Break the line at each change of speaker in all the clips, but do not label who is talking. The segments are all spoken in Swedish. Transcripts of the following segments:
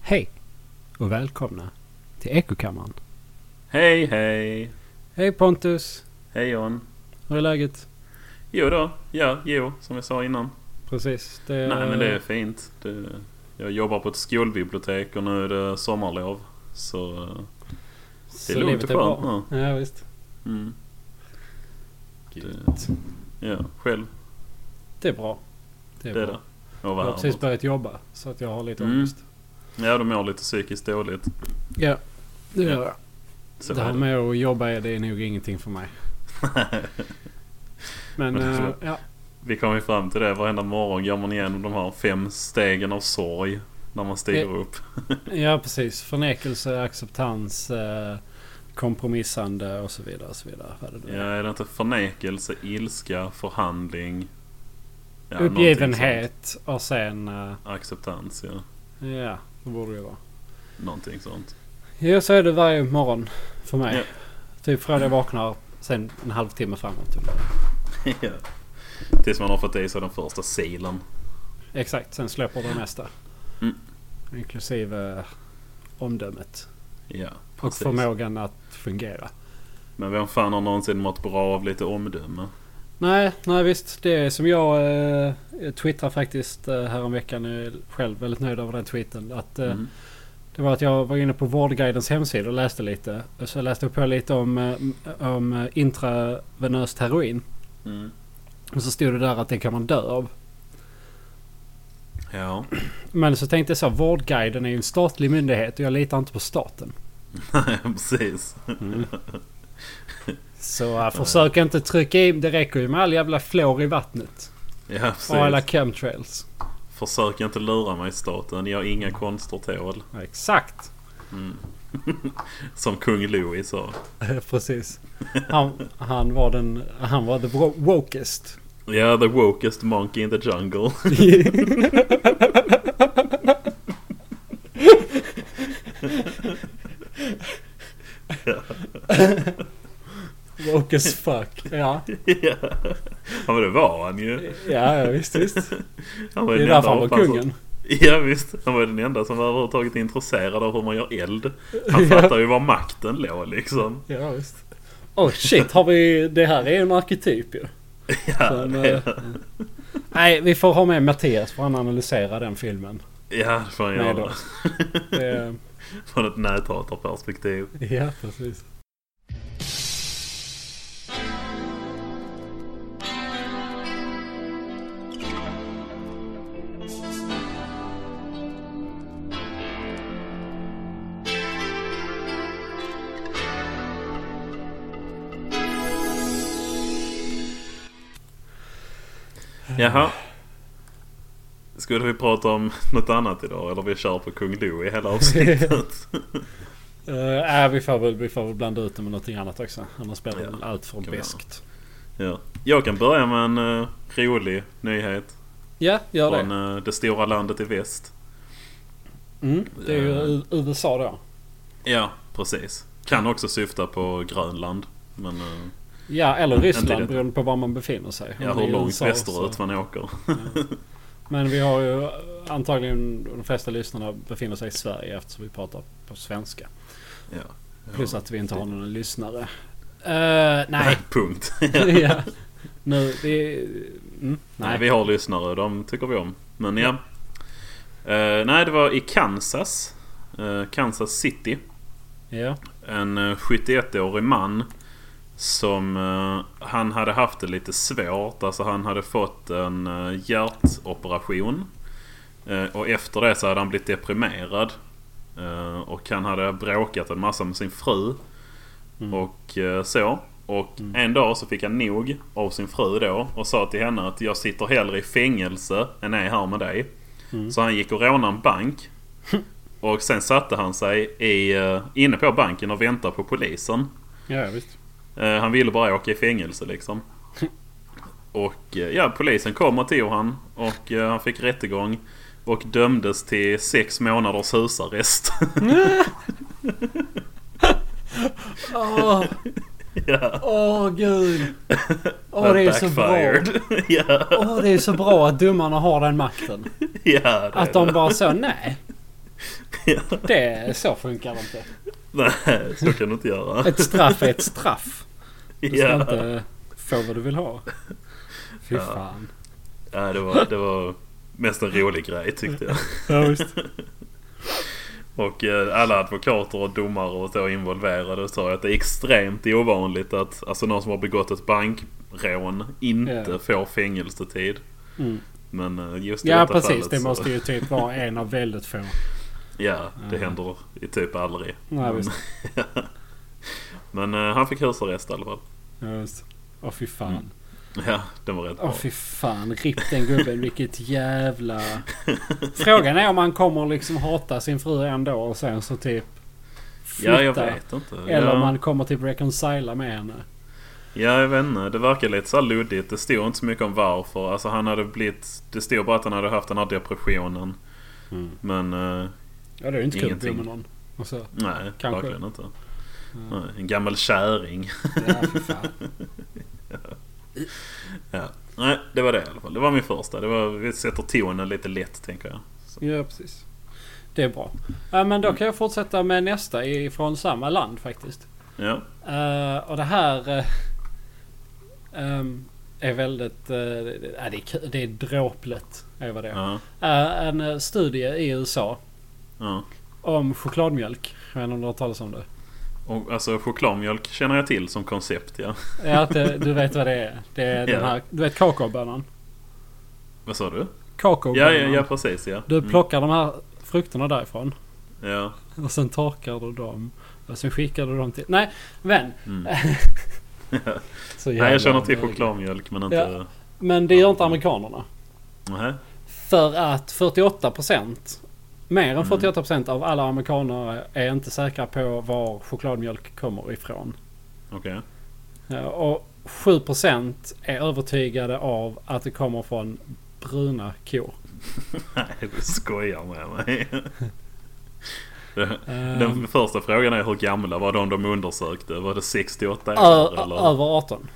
Hej och välkomna till Ekokammaren.
Hej, hej.
Hej Pontus!
Hej John.
Hur är läget?
Jo då, ja, jo, som jag sa innan.
Eh. Precis. Det är,
Nej, men det är fint. Det, jag jobbar på ett skolbibliotek och nu är det sommarlov. Så eh, det
så
är lugnt
livet
och
bra.
skönt nu.
Ja, visst.
Mm.
Gud.
Ja, själv.
Det är bra. Det är
Det är det.
bra.
Och
Jag har precis
varmt.
börjat jobba så att jag har lite
Mm.
ångest.
Ja, de mår lite psykiskt dåligt.
Ja, det gör jag.
Så
det
är
här
det.
med att jobba är- det är nog ingenting för mig. Men
Men-
eh, ja,
Vi kommer ju fram till det. Varenda morgon går man igenom de här fem stegen av sorg. När man stiger
Eh.
upp.
ja, precis. Förnekelse, acceptans, eh, kompromissande och så vidare. Och så vidare. Vad är det nu
Ja,
är.
är det inte förnekelse, ilska, förhandling? Ja, någonting
Uppgivenhet och sen... eh,
sånt. Acceptans, ja.
Ja, det borde det vara.
Någonting sånt.
Ja, så är det varje morgon för mig.
Ja.
Typ från jag vaknar, sen en halvtimme framåt. typ.
Ja. Tills man har fått i sig den första silen.
Exakt, sen släpper det mesta.
Mm.
Inklusive omdömet.
Ja,
Och
precis.
förmågan att fungera.
Men vem fan har någonsin mått bra av lite omdöme?
Nej, nej visst. Det är som jag eh, twittrade faktiskt eh, häromveckan. Jag är själv väldigt nöjd över den tweeten. Att, eh,
Mm.
Det var att jag var inne på Vårdguidens hemsida och läste lite. Och så läste jag på lite om, eh, om eh, intravenöst heroin.
Mm.
Och så stod det där att det kan man dö av.
Ja.
Men så tänkte jag så här, Vårdguiden är ju en statlig myndighet och jag litar inte på staten.
precis.
Så äh, försök inte trycka in, det räcker ju med all jävla flår i vattnet.
Ja, precis.
Och alla chemtrails.
Försök inte lura mig staten. Jag har inga konster tål.
Ja, exakt!
Som kung Louis sa.
Precis. Han, han var den, han var the wo- wokest.
Ja, the wokest monkey in the jungle.
Wokest fuck. Ja,
ja. ja, men det var han ju.
ja ja, visst visst.
Han var
Det är
den
därför
enda
han var
apan som-
kungen.
Ja visst, han var den enda som var överhuvudtaget intresserad av hur man gör eld. Han fattar ju var makten låg liksom.
Ja visst. Oh shit, har vi, det här är en arketyp ju.
Ja,
Som,
det,
eh, Nej, vi får ha med Mattias för han analyserar den filmen.
ja, det får han
Nej då.
göra.
Det,
Från ett näthatarperspektiv.
ja, precis.
Jaha. Skulle vi prata om något annat idag? Eller vi kör på Kung Louie hela avsnittet?
Uh, äh, vi, får väl, vi får väl blanda ut det med någonting annat också. Annars blir det
Ja,
väl allt för
kan vi
beskt.
ja. Jag kan börja med en eh, rolig nyhet.
Ja, gör
Från
det.
eh, det stora landet i väst.
Mm, det är ju
eh,
U- USA då.
Ja, precis. Kan också syfta på Grönland. Men eh,
Ja, eller
Inte
Ryssland
det.
beroende på var man befinner sig.
ja,
Om det
hur
är
långt
USA,
västerut
så-
man åker.
Men vi har ju eh, antagligen de flesta lyssnarna befinner sig i Sverige eftersom vi pratar på svenska.
Ja.
Plus att vi inte har någon lyssnare. Eh, nej.
Punkt.
ja. Nu, det... Mm,
Nej.
nej.
vi har lyssnare. De tycker vi om. Men ja. Eh, nej, det var i Kansas. Eh, Kansas City.
Ja.
En eh, 71-årig man. Som eh, han hade haft det lite svårt. Alltså han hade fått en eh, hjärtoperation. Eh, och efter det så hade han blivit deprimerad. Eh, och han hade bråkat en massa med sin fru.
Mm.
Och eh, så. Och en dag så fick han nog av sin fru då och sa till henne att jag sitter hellre i fängelse än är här med dig. Så han gick och rånade en bank. Och sen satte han sig i, eh, inne på banken och väntade på polisen.
ja, visst.
Eh, Han ville bara åka i fängelse liksom. Och eh, ja, polisen kom och tog han och eh, han fick rättegång. Och dömdes till sex månaders husarrest.
Åh,
ja.
åh gud. Åh, det är så bra.
Backfired. ja,
Åh, det är så bra att domarna har den makten.
ja, det är
Att de
det.
bara så, nej. Det, så funkar det inte.
Nej, så kan du inte göra.
Ett straff är ett straff. Du ska
Ja.
inte få vad du vill ha. Fy
Ja.
fan.
Ja, det, var, det var mest en rolig grej tyckte jag.
Ja, visst.
Och eh, alla advokater och domare och så involverade sa att det är extremt ovanligt att alltså, någon som har begått ett bankrån inte
Ja.
får fängelsetid.
Mm.
Men eh, just i
Ja
detta
precis,
fallet
det
så-
måste ju typ vara en av väldigt få.
Ja, det
Ja.
händer i typ aldrig.
Nej, visst.
Men eh, han fick husarrest i alla fall.
Ja, visst. Åh fy
Mm.
fan.
Ja, den var rätt
Åh
bra.
fy fan, ripp den gubben. Vilket jävla... Frågan är om han kommer liksom hata sin fru ändå och sen så typ
Ja, jag
flytta.
vet inte.
Eller om
ja.
han kommer typ reconcila med henne.
Ja, jag vet inte. Det verkar lite så här luddigt. Det stod inte så mycket om varför. Alltså han hade blivit... Det stod bara att han hade haft den här depressionen.
Mm.
Men eh,
Ja det är ju inte kul att bo
Ingenting.
med någon. Och så.
nej,
Kanske.
verkligen inte.
Ja,
Nej, en gammal käring.
ja fy fan.
Nej, det var det i alla fall. Det var min första. Det var, vi sätter tonen lite lätt tänker jag.
Ja, precis. Det är bra. Ja, men då kan jag fortsätta med nästa ifrån samma land faktiskt.
Ja,
Eh, och det här eh, ehm, är väldigt... eh, ja, det, är, ku- det är dråpligt. Är vad det är.
ja,
Eh, en eh, studie i USA
ja.
om chokladmjölk. Jag vet inte om du har hört talas om det?
Och, alltså chokladmjölk känner jag till som koncept ja.
Ja, att, eh, du vet vad det är. Det är den
Ja.
här, du vet kakaobönan?
Vad sa du? Ja,
Kakaobönan.
ja, ja precis ja.
Du
Mm.
plockar de här frukterna därifrån.
Ja.
Och sen torkar du dem. Och sen skickar du dem till... Nej, men.
Mm.
Så
Nej, jag känner
jävla
till
mög.
chokladmjölk men inte...
Men det gör inte amerikanerna.
Nähä?
För att 48% Mer än
Mm.
48% av alla amerikaner är inte säkra på var chokladmjölk kommer ifrån.
Okej.
Eh, Och 7% är övertygade av att det kommer från bruna kor.
Nej, du skojar med mig. Det-
Eh,
Den första frågan är hur gamla var de de undersökte? Var det 68 år?
ö- ö-
eller?
över 18.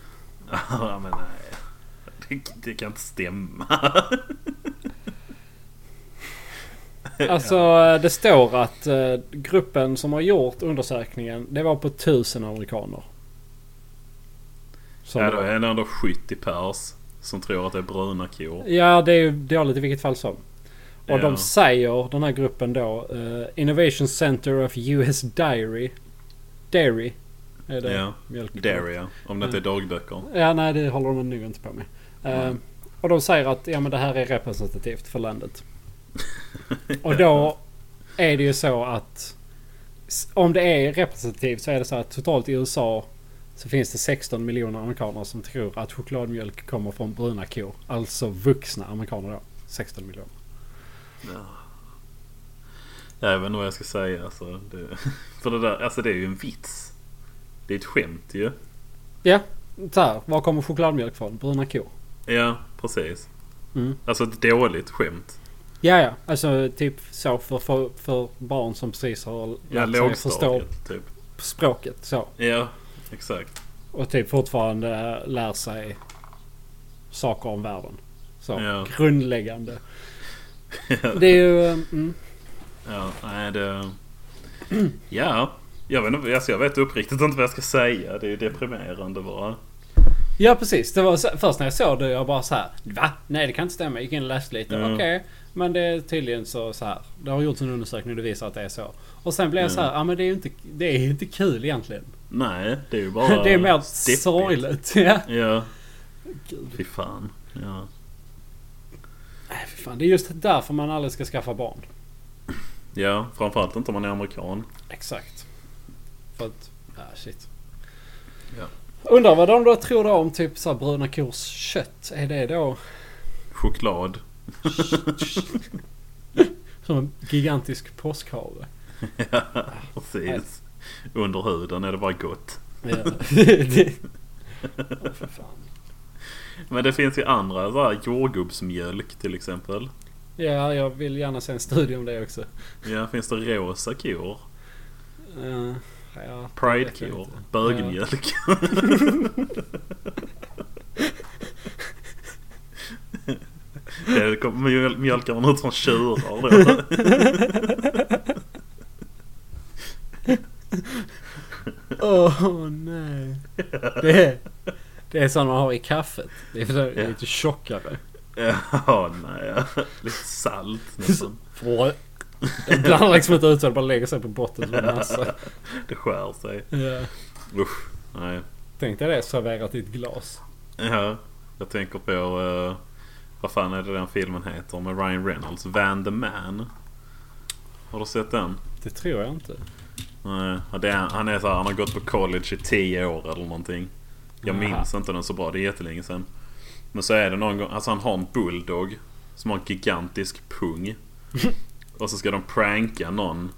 ja, men nej. Det, det kan inte stämma.
Alltså eh, det står att eh, gruppen som har gjort undersökningen det var på 1000 amerikaner. Som-
Ja, då är det ändå 70 pers som tror att det är bruna kor.
Ja, det är ju dåligt i vilket fall som. Och
Ja.
de säger, den här gruppen då, eh, Innovation Center of US Diary. Dairy. Är det
Ja.
mjölk?
Dairy, ja. Om det inte är dagböcker.
Ja, nej det håller de nog inte på med. Eh,
Nej.
och de säger att ja, men det här är representativt för landet. Och då är det ju så att s- om det är representativt så är det så att totalt i USA så finns det 16 miljoner amerikaner som tror att chokladmjölk kommer från bruna kor. Alltså vuxna amerikaner då. 16 miljoner.
Jag vet inte vad jag ska säga. Alltså, det, för det där, alltså det är ju en vits. Det är ett skämt ju.
Ja, så här. Var kommer chokladmjölk från? Bruna kor.
Ja, precis.
Mm.
Alltså ett dåligt skämt.
Ja, ja. Alltså typ så för, för, för barn som precis har
Ja,
lärt sig förstå
lågstadiet typ.
språket. Så.
Ja, exakt.
Och typ fortfarande lär sig saker om världen. Så
Ja.
grundläggande. Det är ju... eh, Mm,
Ja, nej det... Ja. Jag vet, inte- alltså jag vet uppriktigt inte vad jag ska säga. Det är ju deprimerande bara.
ja precis. Det var så, först när jag såg det jag bara så här. Va? Nej det kan inte stämma. Jag gick in och läste lite.
Ja.
Okej. Men det är tydligen så, så här. Det har gjorts en undersökning och det visar att det är så. Och sen blev jag så här. Ja men det är ju inte, det är ju inte kul egentligen.
Nej, det är ju bara...
det är mer
deppigt.
sorgligt. Ja.
Ja,
Gud.
fy fan. Ja.
Nej, för fan. Det är just därför man aldrig ska skaffa barn.
ja, framförallt inte om man är amerikan.
Exakt. För att... Ah, shit.
Ja.
Undrar vad de då tror då om typ så här bruna kors kött. Är det då
Choklad.
som en gigantisk påskhare?
Ja, precis. Under huden är det bara gott.
Ja. Det- Åh, för fan.
Men det finns ju andra, så här, jordgubbsmjölk till exempel.
Ja, jag vill gärna se en studie om det också.
Ja, finns det rosa kor?
Eh, ja, det vet jag
Pride-kor?
inte.
Bögmjölk? Det kommer mjöl- mjölkar man ut som tjurar då.
Åh nej. Det är, det är sånt man har i kaffet. Det är, för det är lite tjockare.
Ja, nej. ja. Lite salt nästan.
Frö. Den blandar liksom inte ut så det bara lägger sig på botten som en massa.
Det skär sig.
Ja.
Usch. Nej.
Tänk dig det serverat i ett glas.
Ja, jag tänker på... eh, vad fan är det den filmen heter med Ryan Reynolds? Van the Man. Har du sett den?
Det tror jag inte.
Nej, ja, det är, han är så här, han har gått på college i 10 år eller någonting. Jag
Aha.
minns inte den så bra, det är jättelänge sedan. Men så är det någon gång, alltså han har en bulldog som har en gigantisk pung. Och så ska de pranka någon.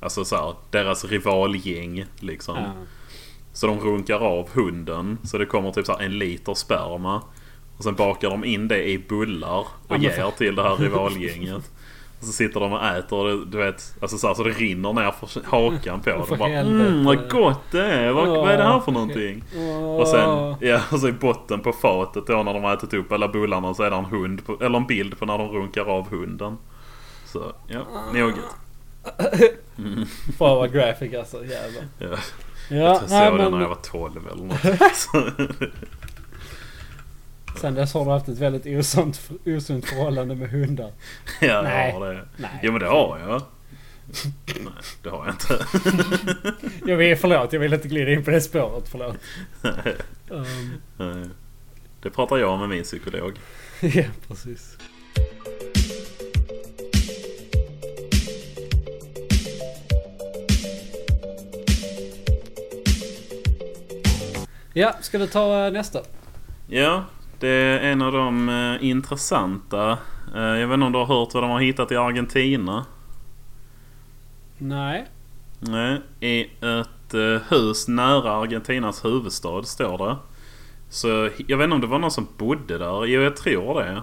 Alltså så här, deras rivalgäng liksom.
Ja.
Så de runkar av hunden så det kommer typ så här en liter sperma. Och sen bakar de in det i bullar och
men
ger
fan.
till det här rivalgänget. Och så sitter de och äter och det, du vet, alltså så, här, så det rinner ner för hakan på
För
dem. Bara,
helvete.
Mm, vad gott det är! Vad, vad är det här för någonting? Och sen
Åh.
ja, och så i botten på fatet då när de har ätit upp alla bullarna så är det en hund på, eller en bild på när de runkar av hunden. Så ja, något.
Fan vad graphic alltså. Jävlar.
Ja.
Ja,
Jag tror jag
nej,
såg den
men
när jag var 12 eller något. Så-
sen dess har du haft ett väldigt osunt, osunt förhållande med hundar.
Ja,
Nej.
jag har det.
Nej.
Jo men det har jag. Nej, det har jag inte.
Jag vill, förlåt, jag vill inte glida in på det spåret. Förlåt. Ehm,
Nej. Det pratar jag med min psykolog.
ja, precis. Ja, ska du ta eh, nästa?
Ja, det är en av de eh, intressanta. Eh, jag vet inte om du har hört vad de har hittat i Argentina?
Nej.
Nej, i ett eh, hus nära Argentinas huvudstad står det. Så jag vet inte om det var någon som bodde där. Jo, jag tror det.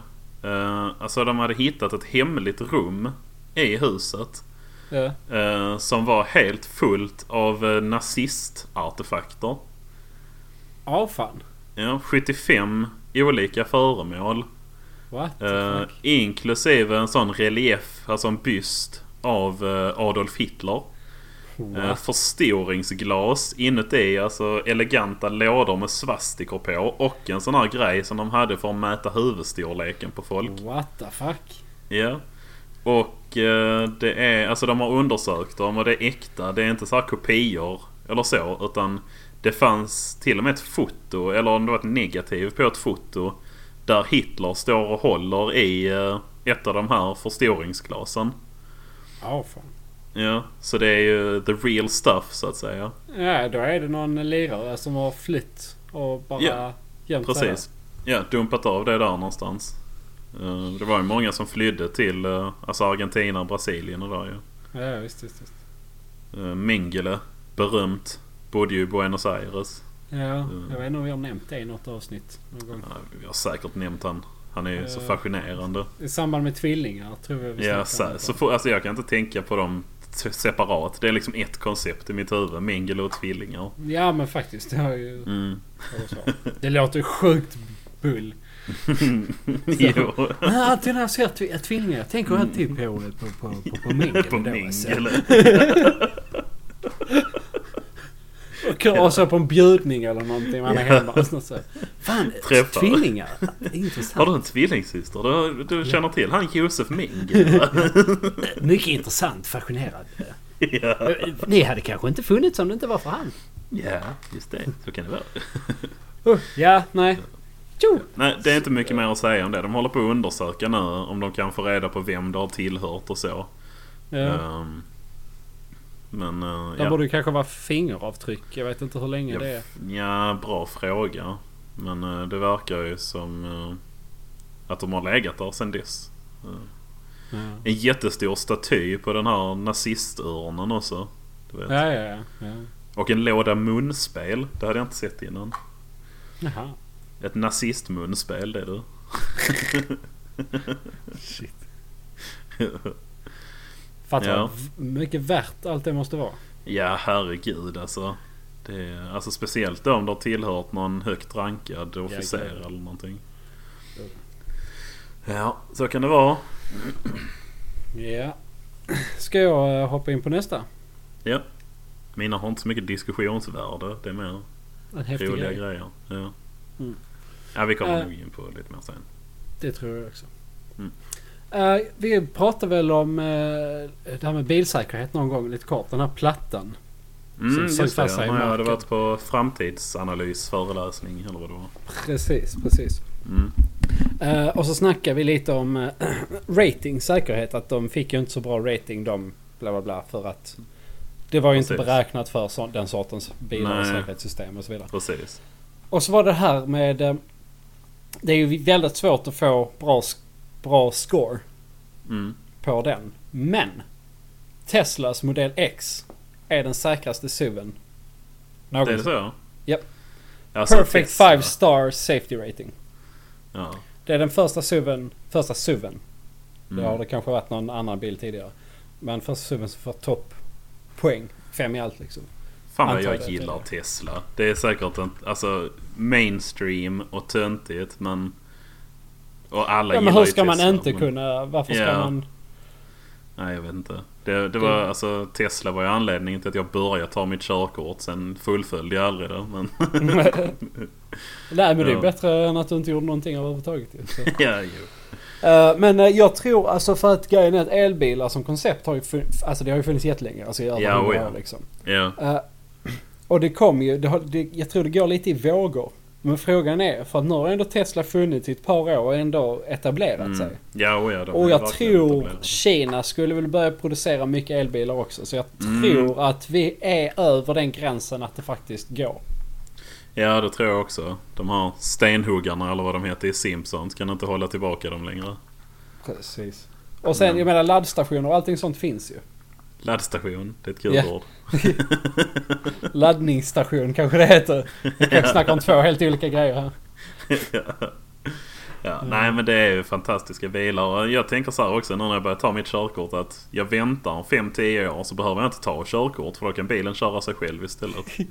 Eh, alltså de hade hittat ett hemligt rum i huset.
Ja.
Eh, som var helt fullt av eh, nazistartefakter.
Ja, fan.
Ja, 75 olika föremål.
What the
Eh,
fuck?
inklusive en sån relief, alltså en byst av eh, Adolf Hitler. Eh,
What?
förstoringsglas inuti, alltså eleganta lådor med svastikor på. Och en sån här grej som de hade för att mäta huvudstorleken på folk.
What the fuck?
Ja. Och eh, det är, alltså de har undersökt dem och det är äkta. Det är inte så här kopior eller så. Utan det fanns till och med ett foto, eller om det var ett negativ på ett foto. Där Hitler står och håller i eh, ett av de här förstoringsglasen.
Ja, fan.
Ja, så det är ju the real stuff så att säga.
Ja, då är det någon lirare som har flytt och bara
Ja,
gömt sig
Precis. Ja, dumpat av det där någonstans. Eh, Det var ju många som flydde till eh, alltså Argentina och Brasilien och där ju.
där. Ja, visst, visst, visst.
Eh, Mengele, berömt. Bodde ju i Buenos Aires.
Ja,
Mm.
jag vet inte om vi har nämnt det i något avsnitt någon gång.
Ja, Vi har säkert nämnt han. Han är ju så
Eh,
fascinerande.
I samband med tvillingar tror jag vi
Ja,
snackade om
så,
det.
så får, alltså jag kan inte tänka på dem t- separat. Det är liksom ett koncept i mitt huvud. Mengele och tvillingar.
Ja men faktiskt. Det, har ju...
Mm.
det låter ju sjukt bull.
jo,
Men alltid när jag ser tv- tvillingar. Jag tänker alltid på, på, på, på, på mingel.
på
då, alltså.
Mengele.
Och, och så på en bjudning eller någonting. Man är hemma och sånt så. Fan,
Träffar.
tvillingar.
Har
Intressant.
du en tvillingsyster? Du, du känner till han Josef Mengele?
Mycket intressant. Fascinerad.
ja.
Ni hade kanske inte funnits om det inte var för han.
ja, just det. Så kan det vara.
Ja, nej. Jo.
Nej, det är inte mycket mer att säga om det. De håller på att undersöka nu om de kan få reda på vem det har tillhört och så.
Ja.
Ehm, men eh,
Där
ja.
borde det kanske vara fingeravtryck. Jag vet inte hur länge
Ja,
det är.
ja, bra fråga. Men eh, det verkar ju som eh, att de har legat där sedan dess.
Ja.
En jättestor staty på den här nazisturnen också. Du vet.
Ja, ja, ja. ja.
Och en låda munspel. Det hade jag inte sett innan.
Jaha.
Ett nazistmunspel det är du.
Shit. Fattar
Ja.
ja. mycket värt allt det måste vara.
Ja, herregud alltså. Det är, alltså speciellt då om det har tillhört någon högt rankad officer
gud.
eller någonting.
Ja.
Ja, så kan det vara.
Ja. Ska jag eh, hoppa in på nästa?
Ja. Mina har inte så mycket diskussionsvärde. Det är mer
En häftig
roliga
grej.
grejer. Ja.
Mm.
ja, vi kommer
Eh.
nog in på lite mer sen.
Det tror jag också.
Mm.
Eh, vi pratade väl om eh, det här med bilsäkerhet någon gång lite kort. Den här plattan.
Mm,
Som
just
syns
det.
fast i
När jag hade
marken.
varit på framtidsanalysföreläsning eller vad det var.
Precis, precis.
Mm.
Eh, och så snackade vi lite om eh, rating, säkerhet. Att de fick ju inte så bra rating de bla bla bla för att det var ju inte
Precis.
beräknat för så, den sortens bilar och
Nej.
säkerhetssystem och så vidare.
Precis.
Och så var det här med... eh, Det är ju väldigt svårt att få bra, sk- bra score
Mm.
på den. Men! Teslas modell X är den säkraste SUVen.
Det är
Någonsin.
så?
Japp.
Alltså,
Perfect
Tesla.
5 star safety rating.
Ja.
Det är den första SUVen, första SUVen
Mm.
Det har det kanske varit någon annan bil tidigare. Men första subben som får topppoäng. Fem i allt liksom.
Fan vad
Antagligen
jag gillar
tidigare.
Tesla. Det är säkert en, alltså, mainstream och töntigt men... Och alla
Ja, men
gillar
hur
ju
ska man
Tesla,
inte
men-
kunna... Varför ska
Ja.
man...
Nej jag vet inte. Det, det var,
Det-
alltså, Tesla var ju anledningen till att jag började ta mitt körkort. Sen fullföljde jag aldrig det. Men
Nej men det är
Ja.
bättre än att du inte gjorde någonting överhuvudtaget. ju, så.
ja, jo.
Eh, men eh, jag tror alltså för att grejen är att elbilar som koncept har ju funnits, alltså det har ju funnits jättelänge. Alltså i över
Ja,
hundra
oh ja.
år liksom.
Ja.
Eh, och det kom ju, det har, det, jag tror det går lite i vågor. Men frågan är, för att nu har ändå Tesla funnits i ett par år och ändå etablerat sig.
Mm. Ja, och ja, de
Och
är
jag
verkligen
tror
etablerade.
Kina skulle väl börja producera mycket elbilar också. Så jag
Mm.
tror att vi är över den gränsen att det faktiskt går.
Ja, det tror jag också. De här stenhuggarna eller vad de heter i Simpsons kan inte hålla tillbaka dem längre.
Precis. Och sen,
Mm.
jag menar laddstationer och allting sånt finns ju.
Laddstation, det är ett kul
Ja.
ord.
Laddningsstation kanske det heter. Vi kanske snackar om två helt olika grejer här.
ja. Ja, Nej men det är ju fantastiska bilar. Och Jag tänker så här också nu när jag börjar ta mitt körkort att jag väntar 5-10 år så behöver jag inte ta körkort för då kan bilen köra sig själv istället.
Ja.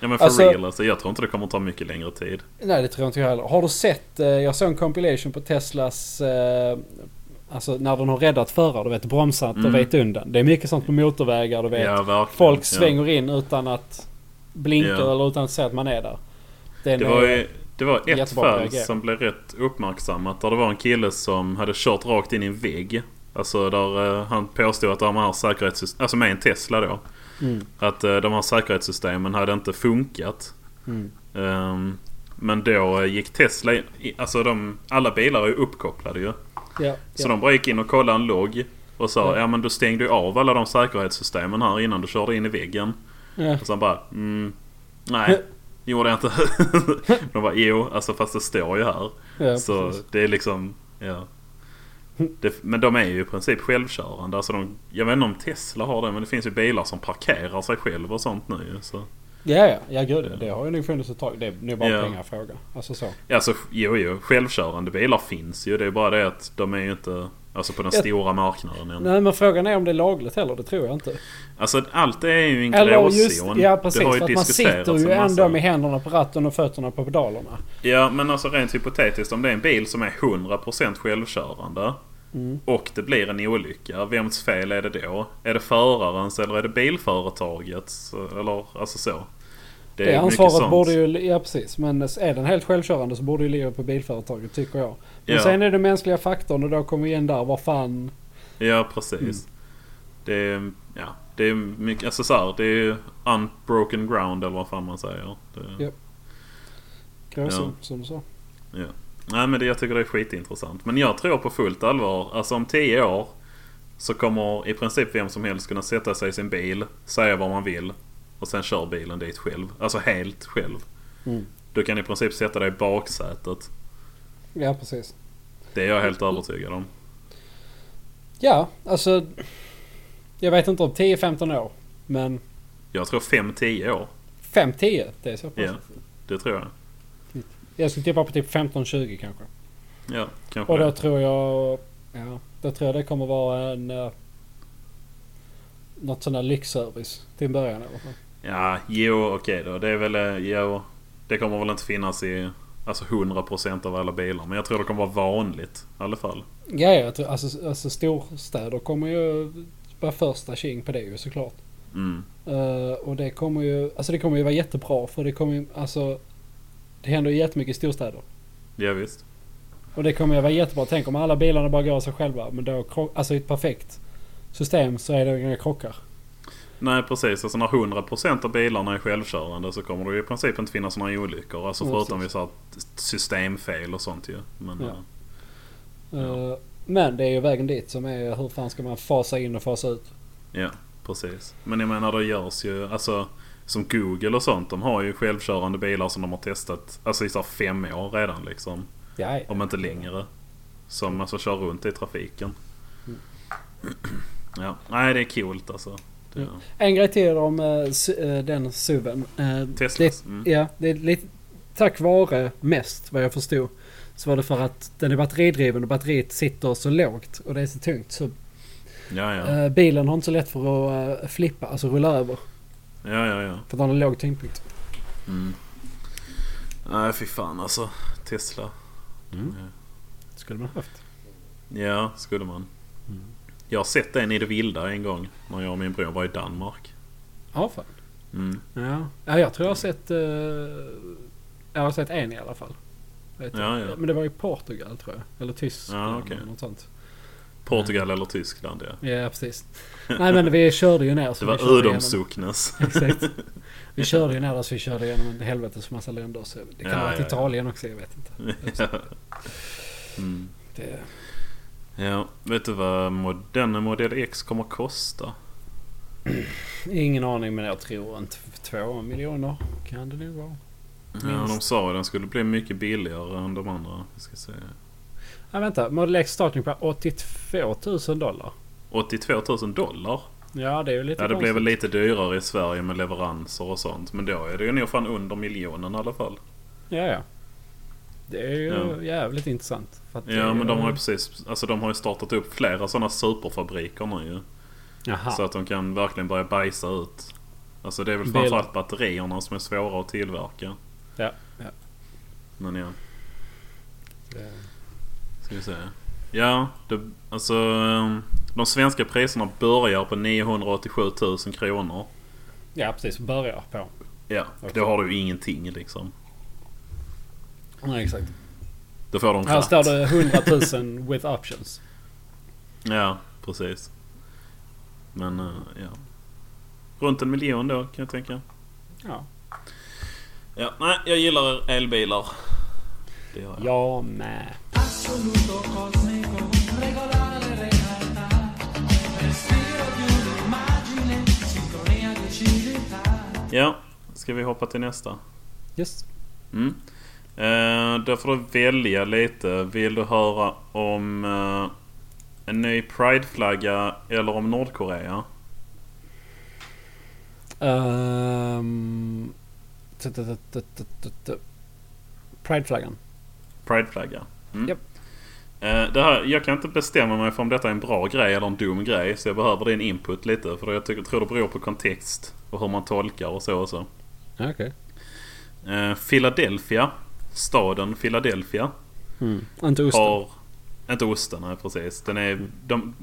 Ja men för
Alltså-
real alltså. Jag tror inte det kommer ta mycket längre tid.
Nej det tror jag inte jag heller. Har du sett, eh, jag såg en compilation på Teslas eh, Alltså när den har räddat förare, du vet bromsat och
Mm.
väjt undan. Det är mycket sånt på motorvägar, du vet.
Ja, verkligen. Ja.
Folk svänger in utan att blinka
Ja.
eller utan att säga att man är där. Den
Det
är-
var, ju, det var ett
jättebra att
fall
reagera.
som blev rätt uppmärksammat. Där det var en kille som hade kört rakt in i en vägg. Alltså där eh, han påstod att de här säkerhetssystemen, alltså med en Tesla då.
Mm,
Att eh, de här säkerhetssystemen hade inte funkat.
mm.
Ehm, men då eh, gick Tesla in, i- alltså de, alla bilar är ju uppkopplade ju.
Ja,
Så
ja.
de bara gick in och kollade en logg. Och sa
Ja.
ja men du stängde ju av alla de säkerhetssystemen här innan du körde in i väggen.
Ja.
Och sen bara mm, nej. Gjorde jag inte. de bara jo, alltså fast det står ju här.
Ja,
så
precis.
det är liksom, ja. Det, men de är ju i princip självkörande. Alltså de, jag vet inte om Tesla har det men det finns ju bilar som parkerar sig själv och sånt nu ju, så.
ja, ja, ja gud, det har ju nog funnits ett tag. Det är nog bara
Ja.
en pengafråga. Alltså så.
Ja, Alltså jo, jo, självkörande bilar finns ju. Det är bara det att de är ju inte alltså, på den
Jag-
stora marknaden än.
Nej men frågan är om det är lagligt heller, det tror jag inte.
Alltså allt är ju en
Eller
gråzon.
just, ja precis.
Det har ju
För att man
diskuterats
sitter ju
en massa.
ändå med händerna på ratten och fötterna på pedalerna.
Ja, men alltså rent hypotetiskt om det är en bil som är 100% självkörande
Mm.
och det blir en olycka, vems fel är det då? Är det förarens eller är det bilföretagets? Eller alltså så.
Det,
mycket
ansvaret
sånt.
borde ju... Ja precis. Men är den helt självkörande så borde ju ligga på bilföretaget tycker jag. Men
Ja.
sen är det mänskliga faktorn och då kommer vi in där. Vad fan...
Ja, precis.
Mm.
Det är, ja, det är mycket, alltså så här, det är unbroken ground eller vad fan man säger. Det,
Ja. Gråzon,
Ja.
som du sa.
Nej men det, jag tycker det är skitintressant. Men jag tror på fullt allvar, alltså om 10 år så kommer i princip vem som helst kunna sätta sig i sin bil, säga vad man vill och sen kör bilen dit själv. Alltså helt själv.
Mm.
Du kan i princip sätta dig i baksätet.
Ja precis.
Det är jag helt övertygad om.
Ja, alltså... Jag vet inte om 10-15 år. Men
Jag tror 5-10 år.
5-10, det är så pass.
Ja. Det tror jag.
Jag skulle tippa på typ 15-20 kanske.
Ja, kanske
Och då
det.
tror jag... Ja, då tror jag det kommer vara en... Uh, något sån där lyxservice till en början i alla fall.
Ja, jo okej då. Det är väl, eh, jo. Det kommer väl inte finnas i alltså 100% av alla bilar. Men jag tror det kommer vara vanligt i alla fall.
Ja, jag tror, alltså, alltså storstäder kommer ju vara första tjing på det ju såklart.
Mm.
Eh, och det kommer ju, alltså det kommer ju vara jättebra för det kommer ju, alltså det händer ju jättemycket i storstäder.
Ja, visst.
Och det kommer ju vara jättebra. Tänk om alla bilarna bara går av sig själva. Men då, kro- alltså i ett perfekt system så är det inga krockar.
Nej precis, alltså när 100% av bilarna är självkörande så kommer det ju i princip inte finnas några olyckor. Alltså
Ja,
förutom
precis.
vid så här systemfel och sånt ju. Men,
Ja.
eh,
Eh,
Ja.
Men det är ju vägen dit som är hur fan ska man fasa in och fasa ut?
Ja, precis. Men jag menar det görs ju, alltså som Google och sånt, de har ju självkörande bilar som de har testat alltså i så här fem år redan liksom.
Ja, ja.
Om inte längre. Som alltså kör runt i trafiken.
Mm.
Ja, nej det är coolt alltså. Det,
Ja. En grej till om eh, su- eh, den SUVen. Eh,
Teslas.
det,
Mm.
ja, det är lite tack vare mest vad jag förstod. Så var det för att den är batteridriven och batteriet sitter så lågt och det är så tungt. Så
Ja, ja.
eh, bilen har inte så lätt för att eh, flippa, alltså rulla över.
Ja, ja, ja.
För att den har låg tyngdpunkt.
Mm. Nej, fy fan alltså. Tesla.
Mm. Skulle man haft.
Ja, skulle man.
Mm.
Jag har sett en i det vilda en gång. När jag och min bror var i Danmark.
Ja, fan.
Mm.
Ja. ja, jag tror jag har sett... eh, jag har sett en i alla fall. Vet jag.
Ja, ja.
Men det var i Portugal tror jag. Eller Tyskland.
Ja, okej.
eller något sånt.
Portugal
Mm.
eller Tyskland ja.
Ja, precis. Nej, men vi körde ju ner.
Det
Så vi
var
körde igenom-
Udomsocknes.
Exakt. Vi körde ju ner så vi körde igenom en helvetes massa länder. Så det kan
Ja,
ha varit
ja, ja.
Italien också, jag vet inte. eh,
mm.
Det,
Ja, vet du vad mod- denna Model X kommer kosta?
ingen aning, men jag tror inte två miljoner kan det nog vara.
Ja,
Minst.
de sa att den skulle bli mycket billigare än de andra. Vi ska se.
Nej, vänta. Model X starting på 82 000 dollar.
82 000 dollar?
Ja, det är ju lite
Ja, det blev
konstigt.
väl lite dyrare i Sverige med leveranser och sånt. Men då är det ju nog fan under miljonen i alla fall.
Ja, ja. Det är ju
Ja.
jävligt intressant. För att det är
Ja, men de har ju
ju...
precis alltså, de har ju startat upp flera sådana superfabriker nu ju.
Jaha.
Så att de kan verkligen börja bajsa ut. Alltså det är väl
Bilar.
framförallt batterierna som är svåra att tillverka.
Ja, ja.
Men ja.
Det-
Ska vi se. Ja, det, alltså ehm, de svenska priserna börjar på 987 000 kronor.
Ja, precis. Börjar på.
Ja, då har du ju ingenting liksom.
Nej, exakt.
Då får de
Här
ratt.
står det 100 000 with options.
Ja, precis. Men eh, ja. Runt en miljon då kan jag tänka.
Ja.
Ja, nej, jag gillar elbilar. Det gör jag.
Ja, med.
Assoluto cosmico, regolare realtà, respiro di un'immagine, sintonia di civiltà.
Ja, ska vi hoppa till nästa?
Just.
Mm. Eh, då får du välja lite. Vill du höra om eh, en ny Pride-flagga eller om Nordkorea?
Ehm, t- t- t- t- t- t- t- Prideflaggan.
Pride-flagga. Mm.
Japp.
Eh, det här, jag kan inte bestämma mig för om detta är en bra grej eller en dum grej. Så jag behöver din input lite. För jag tycker, tror det beror på kontext och hur man tolkar och så och så.
Okej. Okay.
Eh, Philadelphia. Staden Philadelphia.
Mm. Inte osten.
Har... Inte osten, nej precis. Den är... De,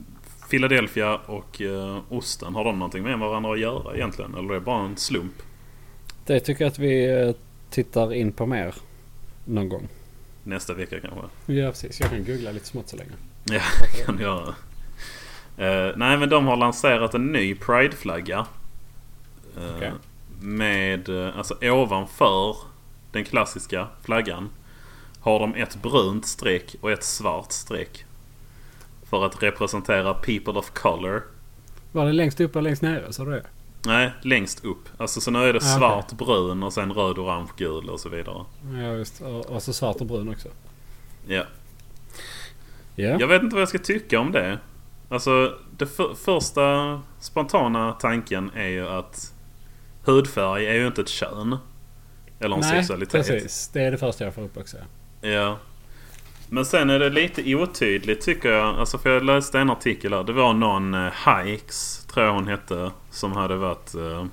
Philadelphia och eh, osten, har de någonting med varandra att göra egentligen? Eller är det bara en slump?
Det tycker jag att vi eh, tittar in på mer. Någon gång.
Nästa vecka kanske?
Ja, precis. Jag kan googla lite smått så länge.
Ja, kan du göra. Eh, nej, men de har lanserat en ny Pride-flagga. Eh,
Okej.
Med, eh, alltså ovanför den klassiska flaggan har de ett brunt streck och ett svart streck. För att representera people of color.
Var det längst upp eller längst nere? Sa du det?
Nej, längst upp. Alltså så nu är det
Ah,
svart, brun och sen röd, orange, gul och så vidare.
Ja, just. Och, och så svart och brun också.
Ja.
Ja.
Jag vet inte vad jag ska tycka om det. Alltså, det för- första spontana tanken är ju att hudfärg är ju inte ett kön. Eller en sexualitet.
precis. Det är det första jag får upp också.
Ja. Men sen är det lite otydligt tycker jag. Alltså för jag läste en artikel här. Det var någon eh, Hikes, tror jag hon hette, som hade varit... Eh,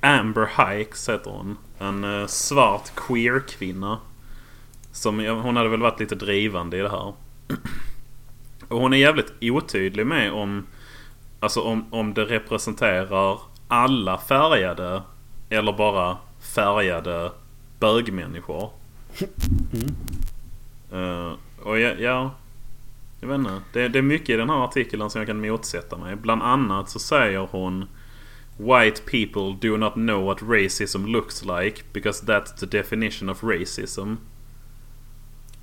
Amber Hikes heter hon. En eh, svart queer-kvinna. Som, ja, hon hade väl varit lite drivande i det här. Och hon är jävligt otydlig med om... Alltså om, om det representerar alla färgade eller bara färgade bögmänniskor. Eh, och ja, ja, jag vet inte. Det, det är mycket i den här artikeln som jag kan motsätta mig. Bland annat så säger hon White people do not know what racism looks like because that's the definition of racism.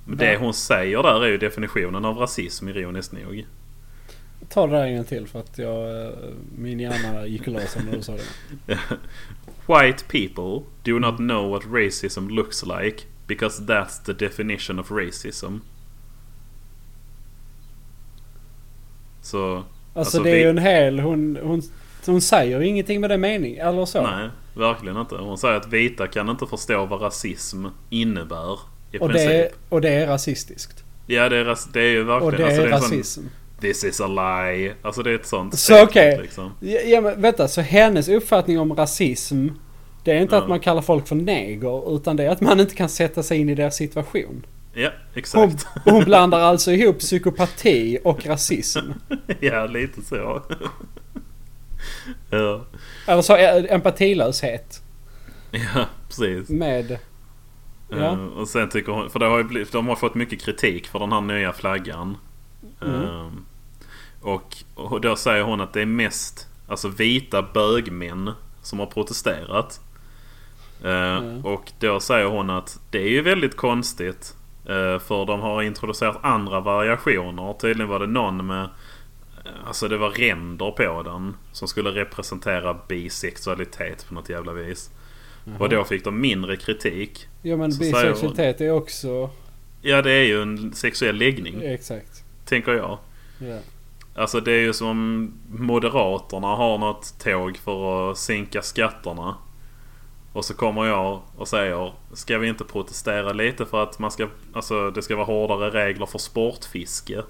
Men det
Va?
hon säger där är ju definitionen av rasism ironiskt nog.
Ta det där en gång till för att jag, eh, min hjärna gick lös när du sa
Alltså,
det.
White people do not know what racism looks like because that's the definition of racism. Så,
Alltså
Alltså,
det är
vi-
ju en hel... Hon, hon, hon säger ju ingenting med den meningen. Eller så.
nej, verkligen inte. Hon säger att vita kan inte förstå vad rasism innebär. I
och,
princip.
det, och det är rasistiskt.
Ja, det är, ras- det är ju verkligen...
Och det
alltså,
är
en
rasism.
Sån, This is a lie. Alltså det är ett sånt
Så okej.
statement, liksom.
Ja, ja, men vänta, så hennes uppfattning om rasism. Det är inte
Ja.
att man kallar folk för neger. Utan det är att man inte kan sätta sig in i deras situation.
Ja,
Hon,
exakt.
hon blandar alltså ihop psykopati och rasism.
ja, lite så. ja.
Eller så är empatilöshet
ja, precis.
med... Ja.
Eh, och sen tycker hon, för det har ju blivit, de har fått mycket kritik för den här nya flaggan.
Mm.
Eh, och, och då säger hon att det är mest alltså, vita bögmän som har protesterat. Eh,
Mm.
Och då säger hon att det är ju väldigt konstigt. eh, för de har introducerat andra variationer. Tydligen var det någon med eh, Alltså det var ränder på den som skulle representera bisexualitet på något jävla vis. Och då fick de mindre kritik.
Ja men
Så säger hon.
bisexualitet är också...
Ja, det är ju en sexuell läggning,
Exakt.
tänker jag.
Ja.
Alltså det är ju som Moderaterna har något tåg för att sänka skatterna. Och så kommer jag och säger, ska vi inte protestera lite för att man ska, alltså, det ska vara hårdare regler för sportfiske?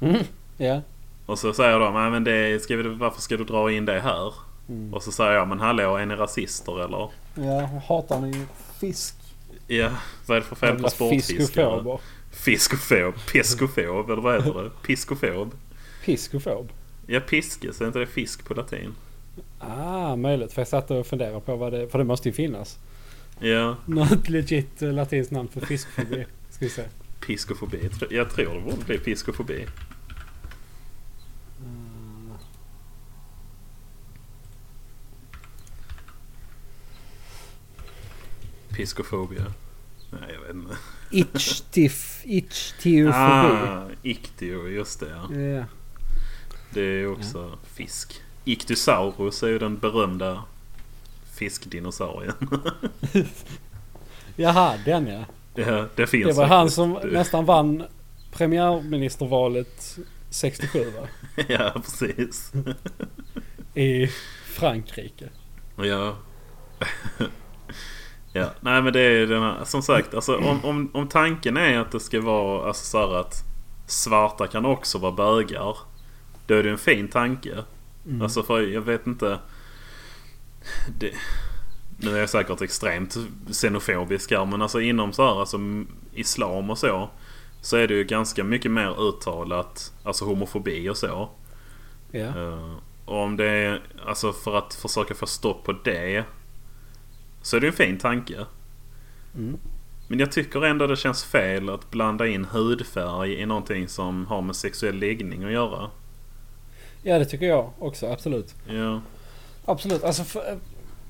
Mm. Ja.
Och så säger de, nej men det, ska vi, varför ska du dra in det här?
Mm.
Och så säger jag, men hallå är ni rasister eller?
ja. Hatar ni fisk?
Ja, vad är det för fel på
Jävla
sportfiskare?
Fiskofober.
Fiskofob? Piskofob? Eller vad heter det? Piskofob?
Fiskofob?
Ja, piskes. Är inte det fisk på latin?
Ah, möjligt. För jag satt och funderade på vad det... För det måste ju finnas.
Ja,
Något legit eh, latinskt namn för fiskfobi. Ska vi se.
piskofobi. Jag tror- Jag tror det borde bli piskofobi. Piskofobia. Nej, jag vet inte.
Itchtif... Itchtiofobi.
Ah, iktio. Just det, ja.
Ja.
Det är också fisk. Ictyosaurus är ju den berömda fiskdinosaurien.
Jaha, den ja.
ja, det finns
Det var han
faktiskt.
som
Det-
nästan vann premiärministervalet 67 va?
Ja, precis.
I Frankrike.
Ja. ja. Nej men det är ju den här, som sagt alltså, om, om, om tanken är att det ska vara alltså, så här att svarta kan också vara bögar. Då är det en fin tanke.
Mm.
Alltså för jag vet inte. Det, nu är jag säkert extremt xenofobisk här men alltså inom så här, alltså, m- islam och så. Så är det ju ganska mycket mer uttalat, alltså homofobi och så.
Ja.
Eh, och om det är, alltså för att försöka få stopp på det. Så är det en fin tanke.
Mm.
Men jag tycker ändå det känns fel att blanda in hudfärg i någonting som har med sexuell läggning att göra.
ja, det tycker jag också. Absolut.
Ja,
Absolut. Alltså, för,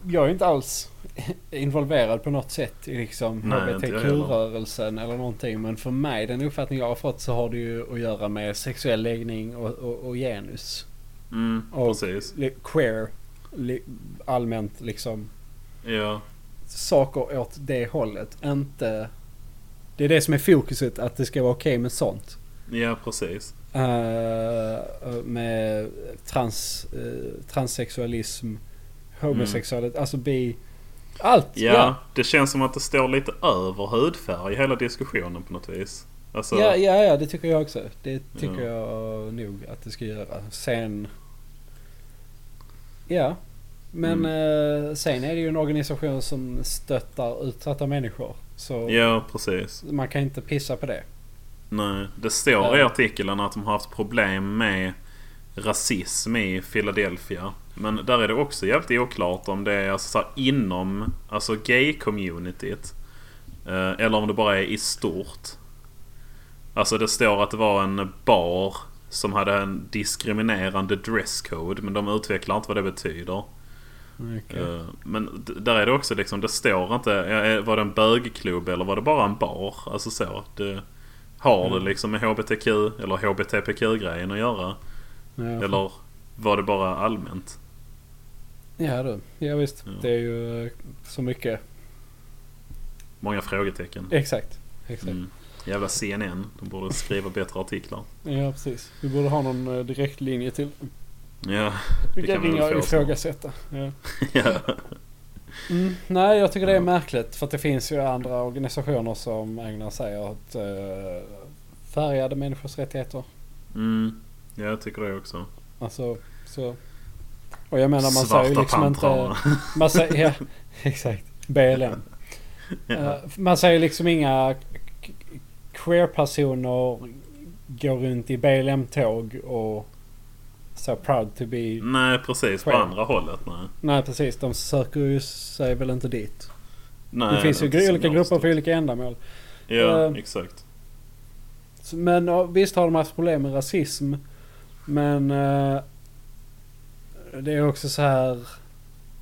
jag är inte alls involverad på något sätt i liksom
Nej, inte jag heller.
HBTQ-rörelsen eller någonting. Men för mig, den uppfattning jag har fått så har det ju att göra med sexuell läggning och, och, och genus.
mm,
Och-
precis.
Li- Queer. Li- Allmänt liksom
Ja,
saker åt det hållet. Inte... Det är det som är fokuset, att det ska vara okej med sånt.
ja, precis.
Eh, med trans, eh, transsexualism, homosexualitet, alltså bi... Allt!
Mm. Ja, det känns som att det står lite över hudfärg i hela diskussionen på något vis. Alltså,
Ja, ja, ja, det tycker jag också. Det tycker
Ja.
jag nog att det ska göra. Sen... Ja. Men
Mm.
eh, sen är det ju en organisation som stöttar utsatta människor. Så
ja, precis.
man kan inte pissa på det.
Nej, det står i artikeln att de har haft problem med rasism i Philadelphia. Men där är det också jävligt oklart om det är alltså så här inom alltså gay-communityt. Eh, Eller om det bara är i stort. Alltså det står att det var en bar som hade en diskriminerande dresscode men de utvecklar inte vad det betyder.
Okej.
Eh, Men d- där är det också liksom, det står inte, eh, var det en bögklubb eller var det bara en bar? Alltså så. Det, har
Mm.
det liksom med HBTQ eller HBTPQ-grejen att göra?
Ja.
Eller var det bara allmänt?
Ja du, ja visst.
Ja.
Det är ju eh, så mycket.
Många frågetecken.
Exakt. Exakt.
Mm. Jävla CNN, de borde skriva bättre artiklar.
Ja precis. Vi borde ha någon eh, direktlinje till.
Ja,
Vi kan
vi väl
ringa och
få snart.
ifrågasätta. Ja.
ja.
Mm, nej, jag tycker det är
Ja.
märkligt. För att det finns ju andra organisationer som ägnar sig åt eh, färgade människors rättigheter.
Mm. ja jag tycker det också.
Alltså, så. Och jag menar man säger ju
Svarta
liksom
pantrar.
inte... Man säger, ja, exakt. BLM. Eh, man säger liksom inga k- queer-personer går runt i BLM-tåg och så proud to be.
Nej precis, på
Själv.
andra hållet nej.
Nej precis, de söker ju sig väl inte dit.
nej
det finns ju
inte som
olika
jag
grupper
förstår.
för olika ändamål.
Ja,
Eh,
exakt.
Så- Men ja, visst har de haft problem med rasism. Men eh, det är också så här.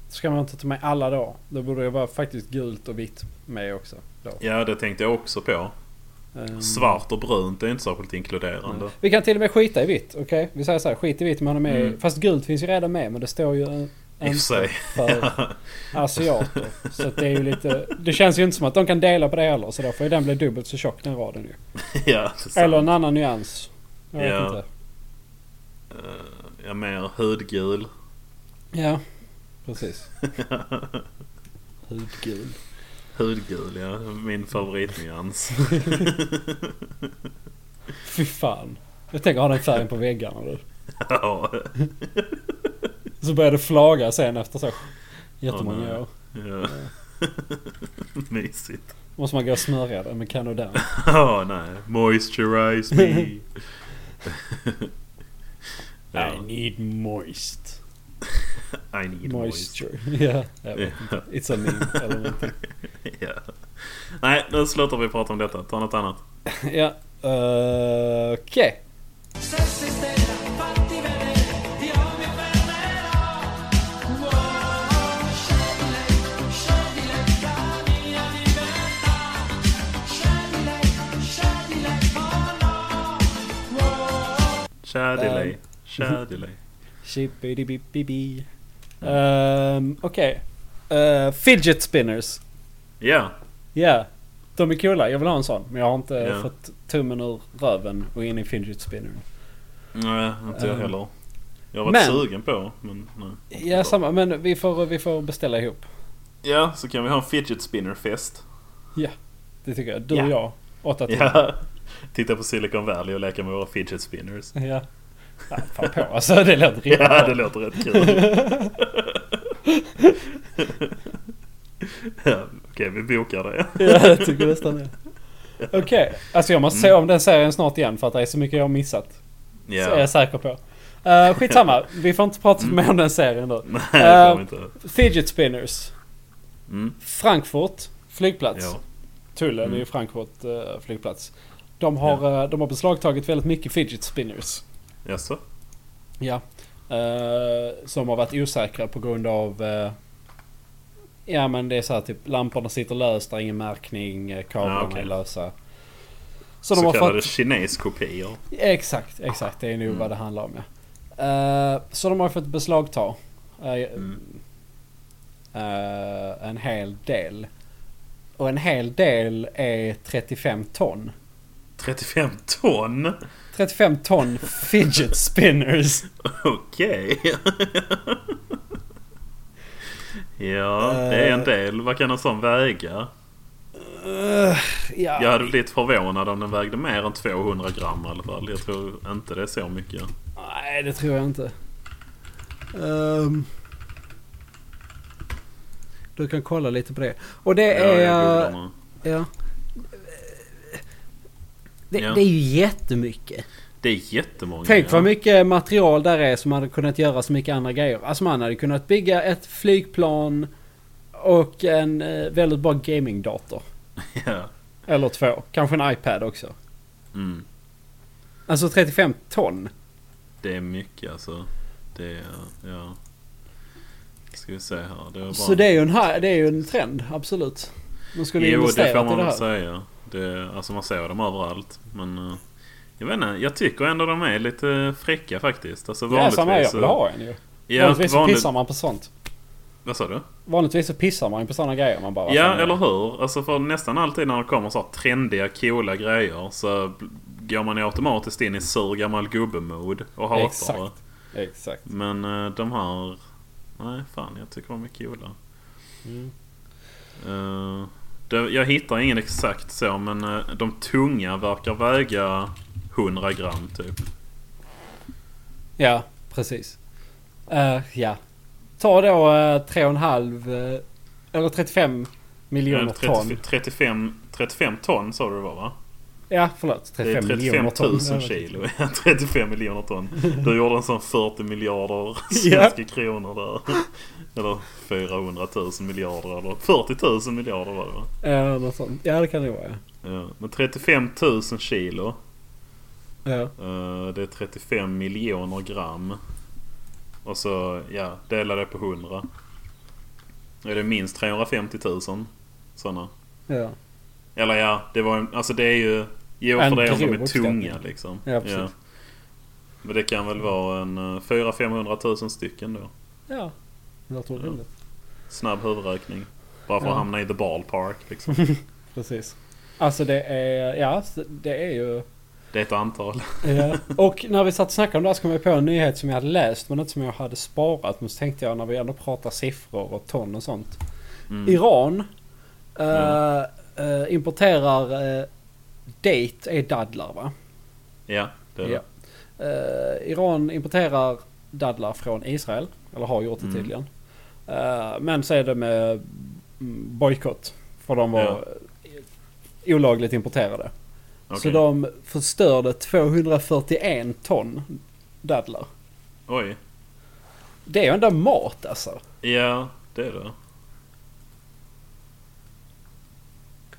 Ska man inte ta med alla då? Då borde det vara faktiskt gult och vitt med också. Då.
Ja det tänkte jag också på.
Ehm,
Svart och brunt är inte särskilt inkluderande.
nej. Vi kan till och med skita i vitt. Okej? Vi säger så här. Skit i vitt man är med. i-
Mm.
Fast gult finns ju redan med. Men det står ju eh,
I och för sig.
för asiater. Så att det är ju lite. Det känns ju inte som att de kan dela på det heller. Så då får ju den bli dubbelt så tjock den raden ju.
ja, det är sant.
Eller en annan nyans. Jag vet
Ja.
inte.
Eh, ja, mer hudgul.
Ja. Precis. Hudgul.
hudgul, ja. Min favoritnyans.
Fy fan. Jag tänker ha den färgen på väggarna du.
ja,
Så börjar det flaga sen efter så
Åh,
jättemånga
nej.
år.
ja. Mysigt.
Måste man gå och smörja den med Canodan.
Ja, nej. Moisturize me. ja,
I need moist.
I need moist.
Moisture. Ja. jag vet.
Ja.
It's a meme eller någonting.
ja. Nej, nu slutar vi prata om detta. Ta något annat.
Ja. eh, Okej.
Sessi stella, fatti vedere, io mi fermerò. Wow, scegli lei, scegli lei la mia libertà. Scegli lei, scegli lei, oh no.
Shadilay.
Ehm.
Shadilay.
Shippidi-bippibi. Ehm, Okej. Eh, Fidget spinners.
Ja,
Ja. De är coola. Jag vill ha en sån. Men jag har inte
Ja.
fått tummen ur röven och in i fidget spinnern.
nej, inte jag
Ehm.
heller. Jag har varit
Men-
sugen på, men nej.
Ja, samma. Men vi får, vi får beställa ihop.
Ja, så kan vi ha en fidget spinner-fest.
Det tycker jag. Du
Ja.
och jag. Åtta timmar.
Ja. Titta på Silicon Valley och leka med våra fidget spinners.
Ja. ja. fan på alltså. Det lät riktigt
Ja,
bra.
det låter rätt kul. ja, Okej, vi bokar det.
Ja, jag tycker nästan det. Okej. Alltså jag måste se om den serien snart igen för att det är så mycket jag har missat. Så är
Mm. Ja. Mm.
jag säker på. Uh, skitsamma. Vi får inte prata mer om den serien då.
Nej, det får
Ehm.
vi inte.
Fidget spinners.
Mm.
Frankfurt. Flygplats.
Ja.
Tullen
Mm.
i Frankfurt eh, flygplats. De har, eh, de har beslagtagit väldigt mycket fidget spinners.
Jaså?
Ja. Eh, som har varit osäkra på grund av... eh, ja men det är så här typ lamporna sitter löst, det är ingen märkning, eh, kablarna
Ja, okej.
är lösa. Så,
Så,
de har
kallade
fått...
kineskopior.
Exakt, exakt. Det är nog
Mm.
vad det handlar om ja. Eh, så de har fått beslagta. eh,
Mm.
eh, en hel del. Och en hel del är 35 ton.
35 ton?
35 ton fidget spinners.
Okej. ja, det är en del. Vad kan en sån väga?
Eh, ja.
Jag hade blivit förvånad om den vägde mer än 200 gram i alla fall. Jag tror inte det är så mycket.
Nej, det tror jag inte. Um, du kan kolla lite på det. Och det
Ja, jag
är... eh,
googlar nu.
Ja. Det,
Ja.
det är ju jättemycket.
Det är jättemånga.
Tänk
ja.
vad mycket material där är som hade kunnat göra så mycket andra grejer. Alltså man hade kunnat bygga ett flygplan och en eh, väldigt bra gamingdator.
Ja.
Eller två. Kanske en iPad också.
Mm.
Alltså 35 ton.
Det är mycket alltså. Det är, ja. Ska vi se här. Det var bara...
Så det är ju en, ha- det är ju en trend, absolut. De skulle
Jo, det får
investera i
man
det
väl
här.
säga. Det, alltså man ser dem överallt. Men eh, jag vet inte. Jag tycker ändå de är lite fräcka faktiskt. Alltså
Ja,
vanligtvis...
samma här, jag vill
så-
ha en ju.
Ja,
Vanligtvis så
vanligt,
pissar man på sånt.
vad sa du?
Vanligtvis så pissar man ju på sådana grejer. Man bara,
Ja,
"Vad fan är
eller
det?"
hur? Alltså för nästan alltid när det kommer så här trendiga, coola grejer så b- går man ju automatiskt in i sur gammal gubbe-mode och hatar
Exakt.
det.
Exakt.
Men eh, de här... Nej, fan jag tycker de är coola.
Mm.
Eh, det, jag hittar ingen exakt så men eh, de tunga verkar väga 100 gram typ.
Ja, precis. Eh, ja. Ta då eh, 3,5 eh, eller 35 miljoner
Eh, 30,
ton.
35, 35 ton sa du det var va?
Ja, förlåt. 35,
det är 35
miljoner
000
ton.
kilo. Ja, 35 miljoner ton. Du gjorde en sån 40 miljarder
Ja.
svenska kronor där. Eller 400 000 miljarder eller 40 000 miljarder var det va?
Ja, något sånt. Ja, det kan det vara.
Ja. Men 35 000 kilo.
Ja. Ja.
eh, Det är 35 miljoner gram. Och så ja, dela det på 100. Då Är det minst 350 000 sådana?
ja.
Eller ja, det var en, alltså det är ju... Jo,
En
för det är om de
grov
är
uppskattning.
tunga liksom.
Ja, precis.
Men det kan väl vara en 400-500 tusen stycken då.
ja. Det låter
Ja.
rimligt.
Snabb huvudräkning. Bara för att
Ja.
hamna i the ballpark liksom.
Precis. Alltså det är, ja det är ju...
Det är ett antal.
Ja. Och när vi satt och snackade om det här så kom jag på en nyhet som jag hade läst men inte som jag hade sparat. Men så tänkte jag när vi ändå pratar siffror och ton och sånt.
Mm.
Iran eh,
Ja.
eh, importerar eh, date är dadlar va?
Ja, det är det.
Eh, Iran importerar dadlar från Israel. Eller har gjort det
Mm.
tydligen. Eh, men så är det med mm, bojkott. För de var
Ja.
eh, olagligt importerade. Så
Okej.
de förstörde 241 ton dadlar.
Oj.
Det är ju ändå mat alltså.
Ja, det är det.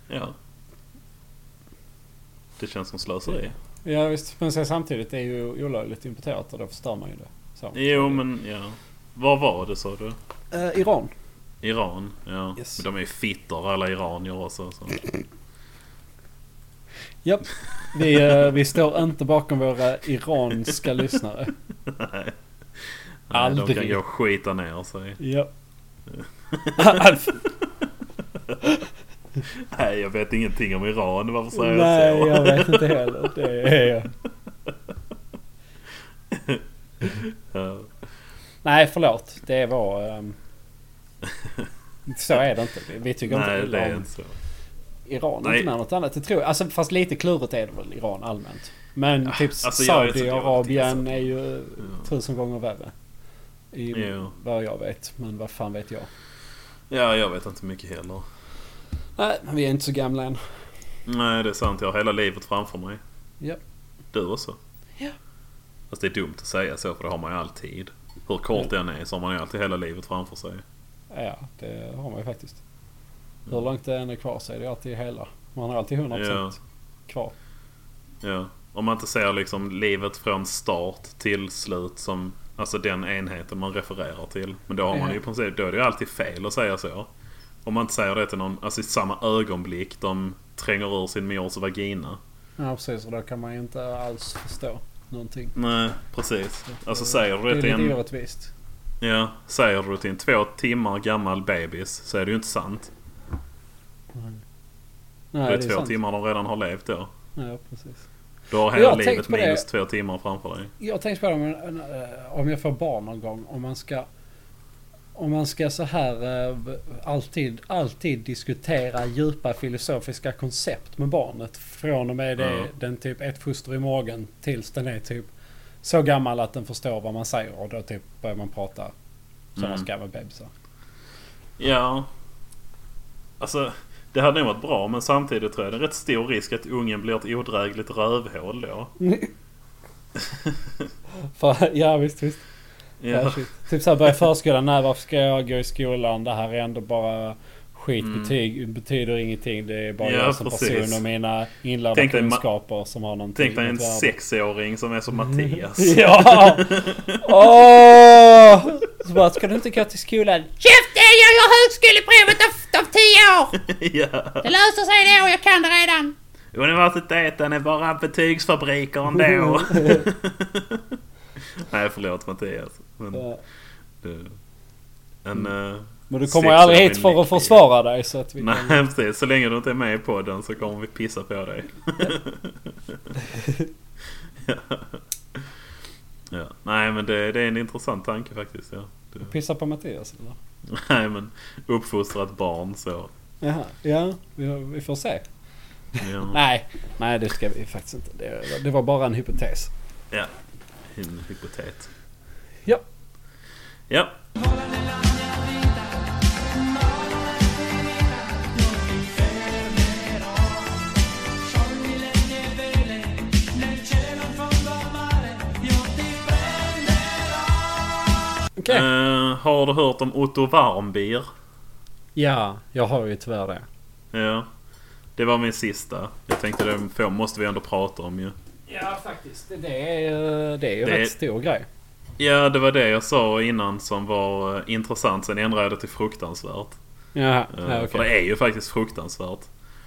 Ja. Det känns som slöseri.
Ja visst. Men sen samtidigt är ju olagligt importerat och då förstör man ju det. Så.
Jo, men ja. Var var det sa du?
Eh, Iran.
Iran, ja.
Yes.
Men de är ju fittor alla iranier också. Så.
Japp. Vi, eh, vi står inte bakom våra iranska lyssnare.
Nej, de
Aldrig.
kan gå och skita ner sig.
Japp.
Nej, jag vet ingenting om Iran. Varför säger
Nej,
jag så?
jag vet inte heller. Det är...
Ja.
Nej, förlåt. Det var... ehm, Så är det inte. Vi- Vi tycker
Nej,
inte
det
illa
är
om
inte så.
Iran.
Nej.
Inte mer än något annat. Det tror jag. Alltså, fast lite klurigt är det väl Iran allmänt. Men typ
alltså, jag vet inte, jag har alltid
Saudiarabien
gissat.
är ju eh,
Ja.
tusen gånger värre. I
Jo.
vad jag vet. Men vad fan vet jag.
Ja, jag vet inte mycket heller.
Nej, men Eh, vi är inte så gamla än.
Nej, det är sant. Jag har hela livet framför mig.
Japp.
Du också.
Ja.
Fast det är dumt att säga så, för det har man ju alltid. Hur kort den är så har man ju alltid hela livet framför sig.
Ja, det har man ju faktiskt.
Mm.
Hur långt det än är kvar så är det alltid hela. Man har alltid 100%
Ja.
kvar.
Ja. Om man inte ser liksom livet från start till slut som alltså den enheten man refererar till. Men då har man
Ja.
ju i princip, då är det ju alltid fel att säga så. Om man inte säger det till någon, alltså i samma ögonblick de tränger ur sin mors vagina.
Ja, precis. Och då kan man ju inte alls förstå någonting.
Nej, precis. Alltså säger
Det
du
är
det till
lite
en,
orättvist.
ja, säger du det till en två timmar gammal bebis så är det ju inte sant.
Nej,
det är
det är
två
sant.
timmar de redan har levt då.
Ja, precis.
Du har
Jag
hela
har tänkt
livet
på det.
minus två timmar framför dig.
Jag tänkte på det om, eh, om jag får barn någon gång. Om man ska... Om man ska så här eh, v- alltid, alltid diskutera djupa filosofiska koncept med barnet. Från och med det,
Ja.
den typ ett foster i magen tills den är typ så gammal att den förstår vad man säger och då typ börjar man prata som man
Mm.
ska med bebisar.
Ja. Alltså, det hade nog varit bra men samtidigt tror jag det är rätt stor risk att ungen blir ett odrägligt rövhål då.
För, ja visst visst. Ja,
Ja.
shit. Typ såhär börja förskolan. Nej varför ska jag gå i skolan? Det här är ändå bara skit. Betyg betyder ingenting. Det är bara
Mm. Ja,
jag som
precis.
person och mina inlärda
Tänk dig ma-
kunskaper som har någonting.
Tänk dig en
att göra.
sexåring som är som Mattias.
Ja! Åh! Så bara, ska du inte gå till skolan?
Käften! Jag gör högskoleprovet om, om tio år!
ja.
Det löser sig då, jag kan det redan.
Universiteten är bara betygsfabriker ändå. Nej, förlåt Mattias. Men,
Ja.
du- en, eh,
Men du kommer ju
Sex
aldrig
är
hit
min
för att
lycklig.
försvara dig så att vi
Nej,
kan...
precis. Så länge du inte är med i podden så kommer vi pissa på dig. ja. ja. Nej, men det, det är en intressant tanke faktiskt. Ja. Du,
Pissa på Mattias eller?
nej, men uppfostra ett barn så.
Jaha, ja. Vi, vi får se.
Mm. Ja,
Nej, nej det ska vi faktiskt inte. Det, det var bara en hypotes.
ja. en hypotet.
Ja.
Ja,
Okej.
eh, har du hört om Otto Warmbier?
Ja, jag har ju tyvärr det.
Ja. Det var min sista. Jag tänkte det får- måste vi ändå prata om ju.
Ja, faktiskt. Det är, ju- det är ju
Det-
rätt stor grej.
Ja, det var det jag sa innan som var eh, intressant. Sen ändrade jag det till fruktansvärt.
Ja,
Eh,
ja okej.
För det är ju faktiskt fruktansvärt.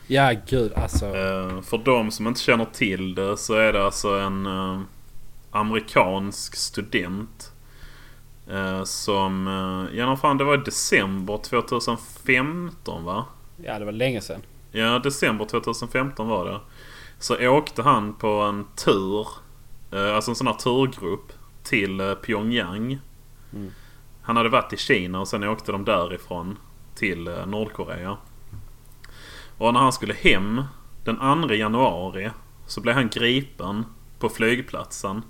Ja, gud alltså.
Eh, För de som inte känner till det så är det alltså en eh, amerikansk student eh, som... eh, Ja, när fan det var i december 2015 va?
Ja, det var länge sedan.
Ja, december 2015 var det. Så åkte han på en tur, eh, alltså en sån här turgrupp, till eh, Pyongyang.
Mm.
Han hade varit i Kina och sen åkte de därifrån till eh, Nordkorea. Och när han skulle hem den 2 januari så blev han gripen på flygplatsen.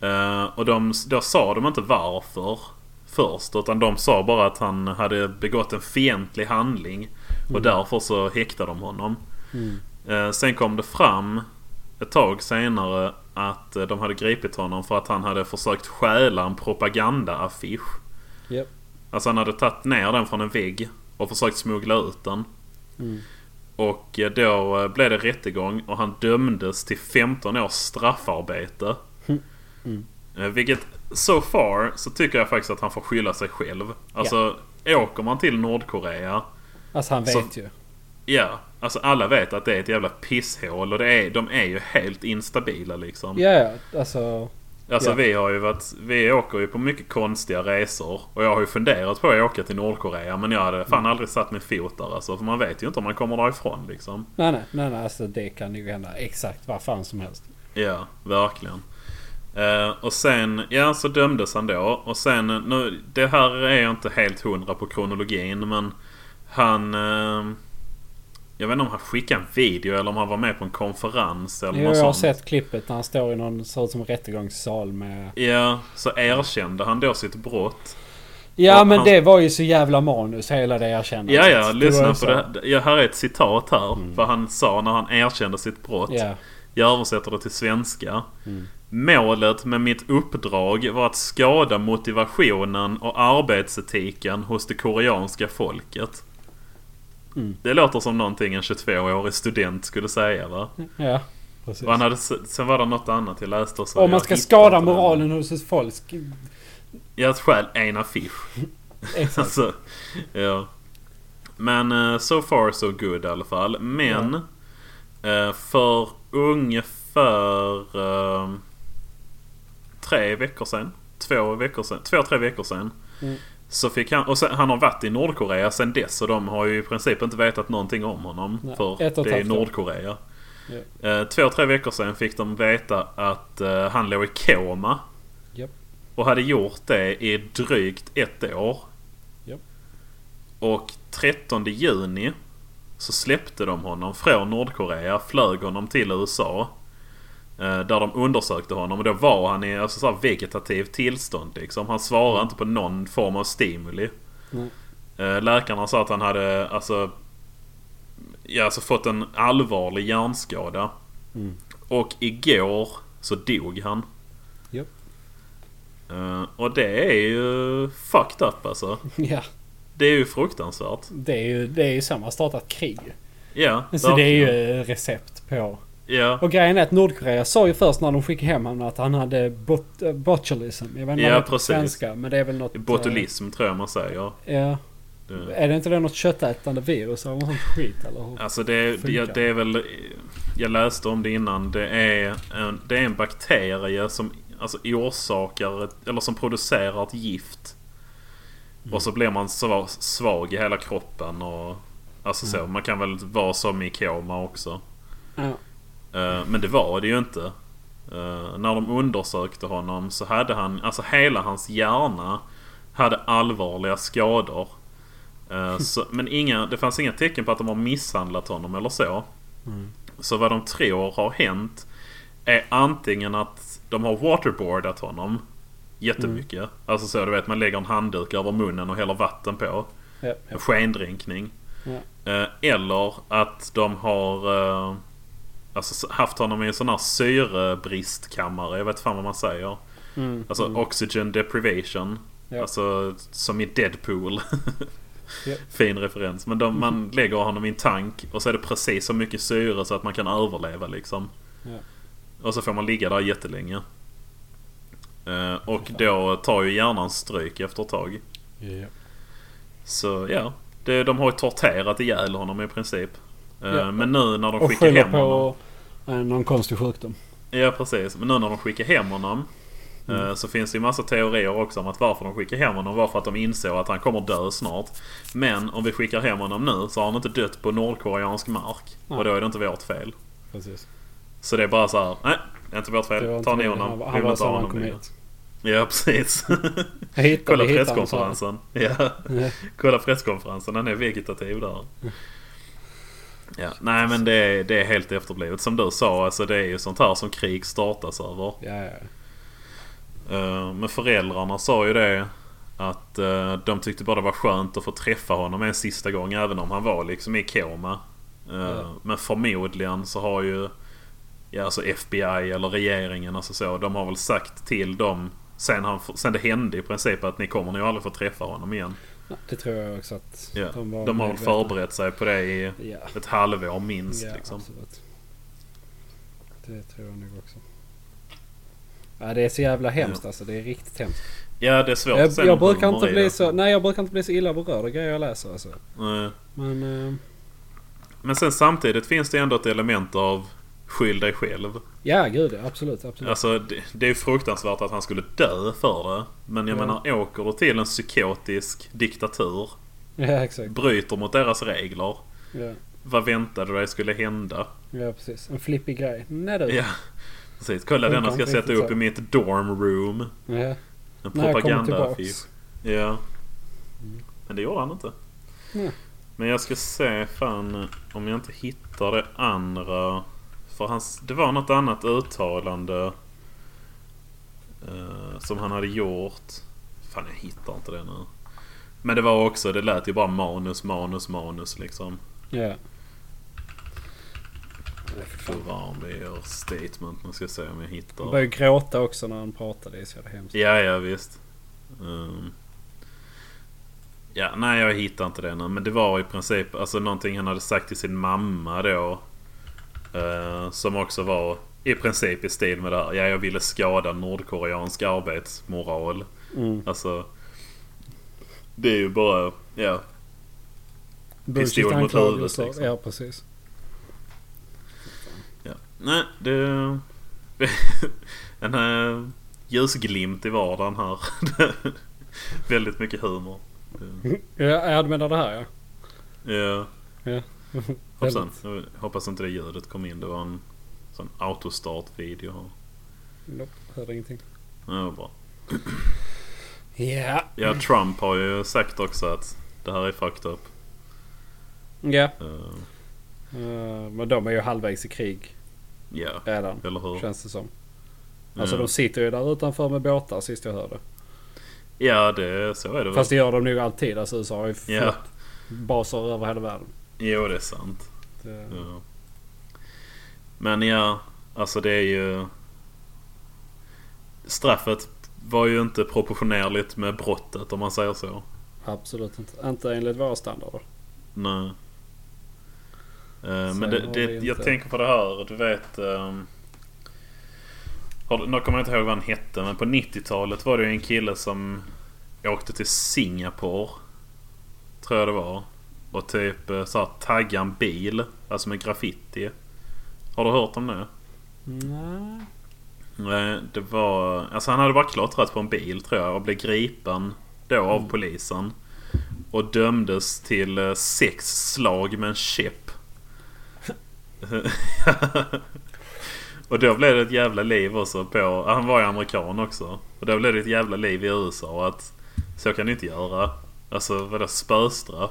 Eh, och de, då sa de inte varför först utan de sa bara att han hade begått en fientlig handling. Och därför så häktade de honom. Eh, sen kom det fram ett tag senare att eh, de hade gripit honom för att han hade försökt stjäla en propagandaaffisch.
Japp.
Alltså han hade tagit ner den från en vägg och försökt smuggla ut den.
Mm.
Och eh, då eh, blev det rättegång och han dömdes till 15 års straffarbete.
Mm.
Eh, Vilket so far så tycker jag faktiskt att han får skylla sig själv. Alltså åker man till Nordkorea
Alltså han vet
Så-
ju.
Ja, alltså alla vet att det är ett jävla pisshål och det är, de är ju helt instabila liksom.
Ja, ja, alltså.
Alltså
ja.
vi har ju varit, vi åker ju på mycket konstiga resor och jag har ju funderat på att åka till Nordkorea men jag hade
Mm.
fan aldrig satt min fot där alltså för man vet ju inte om man kommer därifrån liksom.
Nej, nej, nej, nej alltså det kan ju hända exakt vad fan som helst.
Ja, verkligen. Eh, och sen, ja så dömdes han då. Och sen, nu, det här är jag inte helt hundra på kronologin men han... eh, jag vet inte om han skickade en video eller om han var med på en konferens eller
Jo,
något
jag har
sånt.
sett klippet när han står i någon, ser ut som en rättegångssal med...
Ja, så erkände han då sitt brott.
Ja,
Och
men
han-
det var ju så jävla manus hela det erkännandet. Alltså, Det
Ja, ja,
var
lyssna
ju
på
så- Mm.
det. Ja, här är ett citat här. Vad han sa när han erkände sitt brott.
Ja. Mm.
Jag översätter det till svenska. Målet med mitt uppdrag var att skada motivationen och arbetsetiken hos det koreanska folket.
Mm.
Det låter som någonting en 22-årig student skulle säga va?
Ja, precis.
Och han hade, sen var det något annat jag läste och så.
Om man
jag
ska
hittar
skada
inte det.
moralen hos ett folk.
Jag stjäl en affisch.
Exakt.
Alltså, ja. Men eh, so far so good i alla fall. Men eh, för ungefär eh, tre veckor sedan. Två, veckor sedan, två tre veckor sedan.
Mm.
Så fick han, och sen, han har varit i Nordkorea sen dess så de har ju i princip inte vetat någonting om honom.
Nej,
för
ett och ett
det är
halvt år.
Nordkorea. Eh, två, tre veckor sedan fick de veta att eh, han låg i koma.
Japp.
Och hade gjort det i drygt ett år.
Japp.
Och 13 juni så släppte de honom från Nordkorea, flög honom till USA. eh, Där de undersökte honom och då var han i alltså, så här vegetativ tillstånd liksom. Han svarade inte på någon form av stimuli.
Nej.
Eh, Läkarna sa att han hade alltså, ja, alltså fått en allvarlig hjärnskada. Och igår så dog han.
Japp.
Eh, och det är ju fucked up alltså.
Ja,
Det är ju fruktansvärt.
det är ju, det är ju samma startat krig.
Ja,
Så Alltså, det är
verkligen.
ju eh, recept på...
Ja,
Och grejen är att Nordkorea sa ju först när de skickade hem honom att han hade bot eh, botulism. Jag vet inte
Ja,
vad det heter på
precis.
svenska. Men det är väl något... eh,
botulism tror jag man säger.
Ja.
Det-
Är det inte det något köttätande virus eller något sånt skit eller? hur?
Alltså det,
Funkar.
det, det är väl... Jag läste om det innan. Det är en, det är en bakterie som alltså, orsakar ett, eller som producerar ett gift.
Mm.
Och så blir man svag, svag i hela kroppen. Och, alltså så.
Mm.
Man kan väl vara som i koma också.
Ja.
Eh, men det var det ju inte. Eh, när de undersökte honom så hade han, alltså hela hans hjärna hade allvarliga skador. Eh, så, men inga, det fanns inga tecken på att de har misshandlat honom eller så. Så vad de tror har hänt är antingen att de har waterboardat honom jättemycket. Alltså så du vet man lägger en handduk över munnen och häller vatten på.
Ja.
En skendrinkning.
Ja.
Eh, Eller att de har eh, alltså, s- haft honom i en sån här syrebristkammare. Jag vet fan vad man säger.
Mm.
Alltså oxygen deprivation.
Ja.
Alltså som i Deadpool.
Ja. Mm.
Fin referens. Men de, man lägger honom i en tank och så är det precis så mycket syre så att man kan överleva liksom.
Ja.
Och så får man ligga där jättelänge. Eh, och då tar ju hjärnan stryk efter ett tag.
Ja.
Så ja, det, de har ju torterat ihjäl honom i princip. Eh,
Ja.
Men nu när de
Och
skickar
skyller
hem honom...
på eh, någon konstig sjukdom.
Ja, precis. Men nu när de skickar hem honom
Mm.
eh, så finns det ju massa teorier också om att varför de skickar hem honom var för att de insåg att han kommer dö snart. Men om vi skickar hem honom nu så har han inte dött på nordkoreansk mark.
Nej.
Och då är det inte vårt fel.
Precis.
Så det är bara så här, nej, det är inte vårt fel. Ta ner honom.
Han,
Vi
han
vill
var
inte ha
så han
honom
kom
längre.
hit.
Ja, precis.
Jag hittade-
Kolla
jag hittade
presskonferensen. Ja.
han, så- Ja.
Kolla presskonferensen, han är vegetativ där. Ja, nej men det är, det är helt efterblivet. Som du sa, alltså, det är ju sånt här som krig startas över.
Ja, ja.
Eh, Men föräldrarna sa ju det att eh, de tyckte bara det var skönt att få träffa honom en sista gång även om han var liksom i koma. Eh,
Ja.
Men förmodligen så har ju ja, alltså FBI eller regeringen alltså så, de har väl sagt till dem sen, han, sen det hände i princip att ni kommer nog aldrig få träffa honom igen.
Nej, Det tror jag också att
Ja. De,
var
har väl
medvetna.
förberett sig på det i
Ja.
ett halvår minst.
Ja,
liksom.
absolut. Det tror jag nog också. Ja, det är så jävla hemskt alltså. Det är riktigt hemskt.
ja det är svårt.
Jag,
sen
jag,
om de
brukar inte
har i det.
bli så, nej, jag brukar inte bli så illa berörd av grejer jag läser alltså.
Nej.
Men... eh,
Men sen samtidigt finns det ändå ett element av skyll dig själv.
ja, gud ja, Absolut, absolut.
Alltså det, det är ju fruktansvärt att han skulle dö för det. Men jag
Ja.
menar åker du till en psykotisk diktatur,
Ja, exakt.
bryter mot deras regler.
Ja,
Vad väntade du dig skulle hända?
ja, precis. En flippig grej. Nej du.
Ja, precis. Kolla
Det
denna
kan
ska jag
inte
sätta
riktigt
upp i
så.
mitt dorm room.
Ja.
En
När jag kommer
propagandaaffisch.
tillbaks.
Ja. Men det gjorde han inte.
Nej.
Men jag ska se fan om jag inte hittar det andra. För hans, det var något annat uttalande eh, som han hade gjort. Fan jag hittar inte det nu. Men det var också, det lät ju bara manus, manus, manus liksom.
Ja.
Och vad det gör statement. Nu ska jag se om jag hittar.
Han började gråta också när han pratade. Det är så jävla hemskt.
Ja, ja visst. Ehm. ja, nej jag hittar inte det nu. Men det var i princip alltså, någonting han hade sagt till sin mamma då. eh, som också var i princip i stil med det här. Ja, jag ville skada nordkoreansk arbetsmoral.
Mm.
Alltså, det är ju bara, ja.
Bullshit
mot
anklagelser.
huvudet, liksom.
Ja, precis.
ja. Nej, det... en uh, ljusglimt i vardagen här. Väldigt mycket humor. Ehm.
Ja, jag menar det här ja.
Ja.
Ja.
Hoppsan. Jag hoppas inte det ljudet kom in. Det var en sån autostart-video här.
Nope, hörde ingenting.
Ja, det var bra.
Ja.
Ja, Trump har ju sagt också att det här är fucked up.
Ja.
Eh,
Eh, Men de är ju halvvägs i krig
Ja, Mm.
redan.
eller hur?
Känns det som. Alltså
Ja.
de sitter ju där utanför med båtar sist jag hörde.
Ja, det, så är det väl.
Fast det gör de nog alltid. Alltså USA har ju fått
Ja,
baser över hela världen.
jo det är sant.
Det,
Ja. Men ja, alltså det är ju... straffet var ju inte proportionerligt med brottet om man säger så.
Absolut inte. Inte enligt våra standarder.
Nej. Eh,
Så
men det,
har
det,
vi
jag
inte-
tänker på det här, du vet... ehm, har, du- nu kommer jag inte ihåg vad han hette, men på 90-talet var det ju en kille som åkte till Singapore. Tror jag det var. Och typ eh, så här, taggade en bil, alltså med graffiti. Har du hört om det?
Nej.
Nej, det var... Alltså han hade bara klottrat på en bil tror jag och blev gripen då av polisen. Och dömdes till eh, sex slag med en käpp. och då blev det ett jävla liv också på... Han var ju amerikan också. Och då blev det ett jävla liv i USA att så kan ni inte göra. Alltså vadå spöstraff?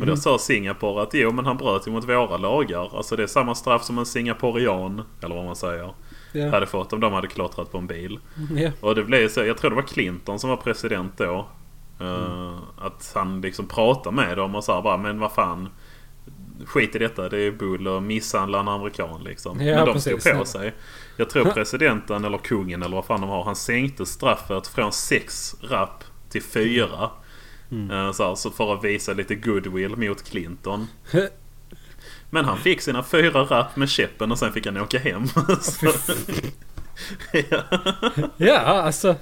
Och då sa Singapore att jo men han bröt ju mot våra lagar. Alltså det är samma straff som en singaporian. Eller vad man säger
Ja.
hade fått om de hade klottrat på en bil.
ja.
Och det blev så, jag tror det var Clinton som var president då.
Mm.
Eh, Att han liksom pratade med dem och sa bara men vad fan. Skit i detta, det är bull och misshandla en amerikan liksom.
Ja,
men de
precis.
stod på sig. Jag tror presidenten eller kungen eller vad fan de har. Han sänkte straffet från sex rapp till fyra.
Mm.
Eh, Så, här, så för att visa lite goodwill mot Clinton. Men han fick sina fyra rapp med käppen och sen fick han åka hem. Så- ja.
ja, alltså.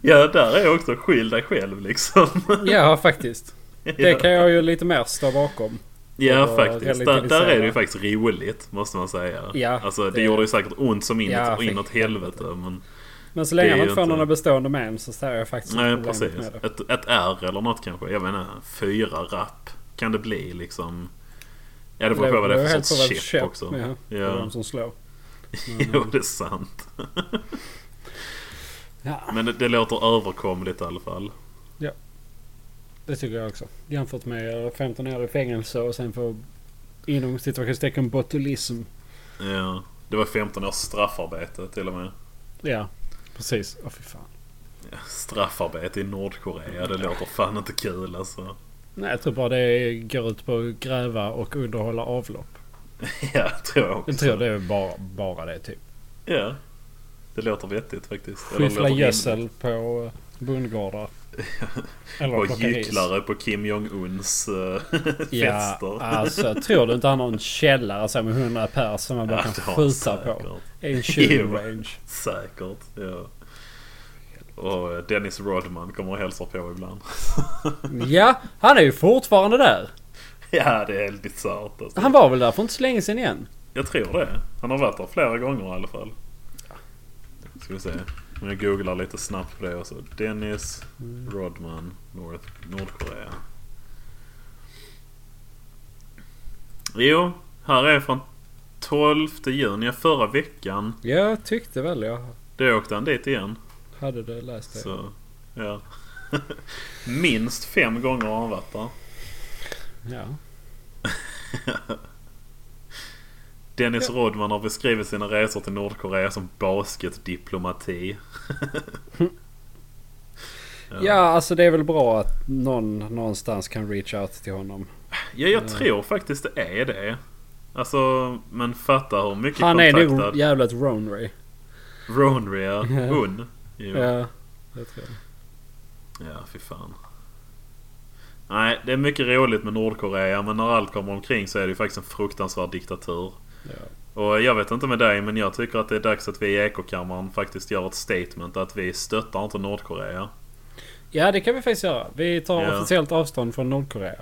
Ja, där är jag också skyll dig själv liksom.
Ja, faktiskt. Det kan jag ju lite mer stå bakom.
ja,
och
faktiskt. Där, där
relativisera.
är det ju faktiskt roligt, måste man säga.
Ja,
alltså, det,
det-
gjorde ju säkert ont som inåt,
Ja, fick-
inåt helvete. Men,
Men så
Det
länge
är
man
ju
inte får
inte-
några bestående men så ser jag faktiskt
nej,
inte problemet
precis.
med det.
Ett, ett R eller något kanske. Jag menar, fyra rapp kan det bli liksom. Ja, det beror på vad det är för
helt på vad
sorts chip,
käpp,
också.
Ja, Det är
Ja,
de som slår.
jo, det är sant.
Ja,
Men det, det låter överkomligt i alla fall.
det tycker jag också. Jämfört med eh, 15 år i fängelse och sen få inom situationstecken botulism.
Ja. Det var 15 års straffarbete till och med.
Ja, precis. Åh fy fan.
Straffarbete i Nordkorea, det låter fan inte kul alltså.
Nej, jag tror bara det går ut på att gräva och underhålla avlopp.
Ja, tror jag också.
Jag tror det är bara, bara det typ.
Ja. Det låter vettigt faktiskt. Eller det
Skyffla
låter
gödsel
rimligt.
på eh, bondgårdar. Eller
Och
plocka ris.
gycklare på Kim Jong-Uns eh,
Ja,
fester.
alltså tror du inte han har en källare så med 100 pers som man bara
Ja,
kan
det har han
skjuta på?
säkert.
I en shooting
Jo.
range.
Säkert, ja. Och eh, Dennis Rodman kommer och hälsar på ibland.
Ja, han är ju fortfarande där.
ja, det är helt bisarrt alltså.
Han var väl där för inte så länge sedan igen?
Jag tror det. Han har varit där flera gånger i alla fall. Ska vi se. Om jag googlar lite snabbt på det också. Dennis Rodman, North, Nordkorea. Jo, här är från 12 juni, ja, förra veckan.
Jag tyckte väl jag
Då åkte han dit igen.
hade det läst det.
Så, ja. Minst fem gånger har han varit där.
Ja.
Dennis Rodman har beskrivit sina resor till Nordkorea som basketdiplomati.
ja, alltså det är väl bra att någon någonstans kan reach out till honom.
Ja, jag
Eh.
tror faktiskt det är det. Alltså, men fatta hur mycket
Han är nog
kontaktad
jävligt Ronray.
Ronria
Ja.
hon. Jo. Ja.
Ja, det tror jag.
ja, fy fan. Nej, det är mycket roligt med Nordkorea, men när allt kommer omkring så är det ju faktiskt en fruktansvärd diktatur.
Ja.
Och jag vet inte med dig, men jag tycker att det är dags att vi i Ekokammaren faktiskt gör ett statement att vi stöttar inte Nordkorea.
ja, det kan vi faktiskt göra. Vi tar
Ja.
officiellt avstånd från Nordkorea.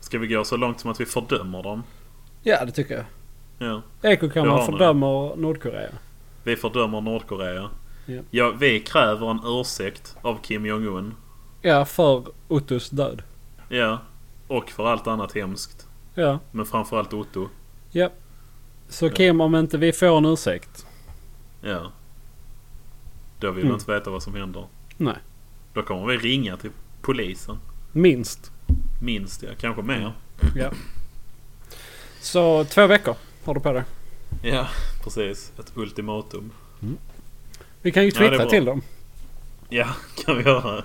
Ska vi gå så långt som att vi fördömer dem?
Ja, det tycker jag.
Ja. Jag
Ekokammaren
har med.
fördömer Nordkorea.
Vi fördömer Nordkorea.
Ja.
Ja, vi kräver en ursäkt av Kim Jong-Un.
Ja, för Ottos död.
Ja. Och för allt annat hemskt.
Ja,
Men framförallt Otto.
ja. Så Kim, om inte vi får en ursäkt.
Ja. Då vill
Mm.
du inte veta vad som händer.
Nej.
Då kommer vi ringa till polisen.
Minst.
Minst ja, kanske mer.
Ja. Så två veckor har du på dig.
Ja, precis. Ett ultimatum.
Vi kan ju
Ja, det är
twittra
bra.
till dem.
Ja, kan vi göra.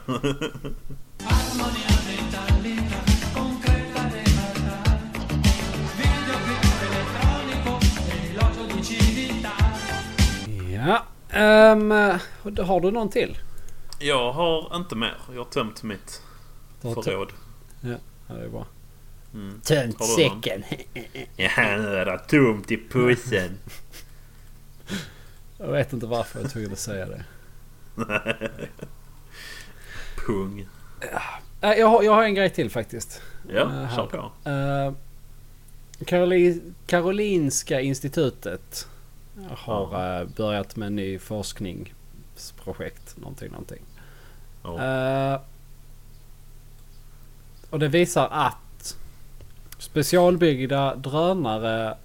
Ja. Eh, Ehm, har du någon till?
Jag har inte mer. Jag har tömt mitt
Du har tömt-
förråd.
Ja, det är bra.
Tömt
Har du någon?
säcken.
Ja, nu är det tomt i pussen.
Jag vet inte varför jag tog att säga det.
Pung.
Eh, Jag har, jag har en grej till faktiskt.
Ja,
Äh,
kör på.
Eh, Karoli, Karolinska institutet har eh, börjat med en ny forskningsprojekt. Någonting, någonting.
Ja.
Eh, och det visar att specialbyggda drönare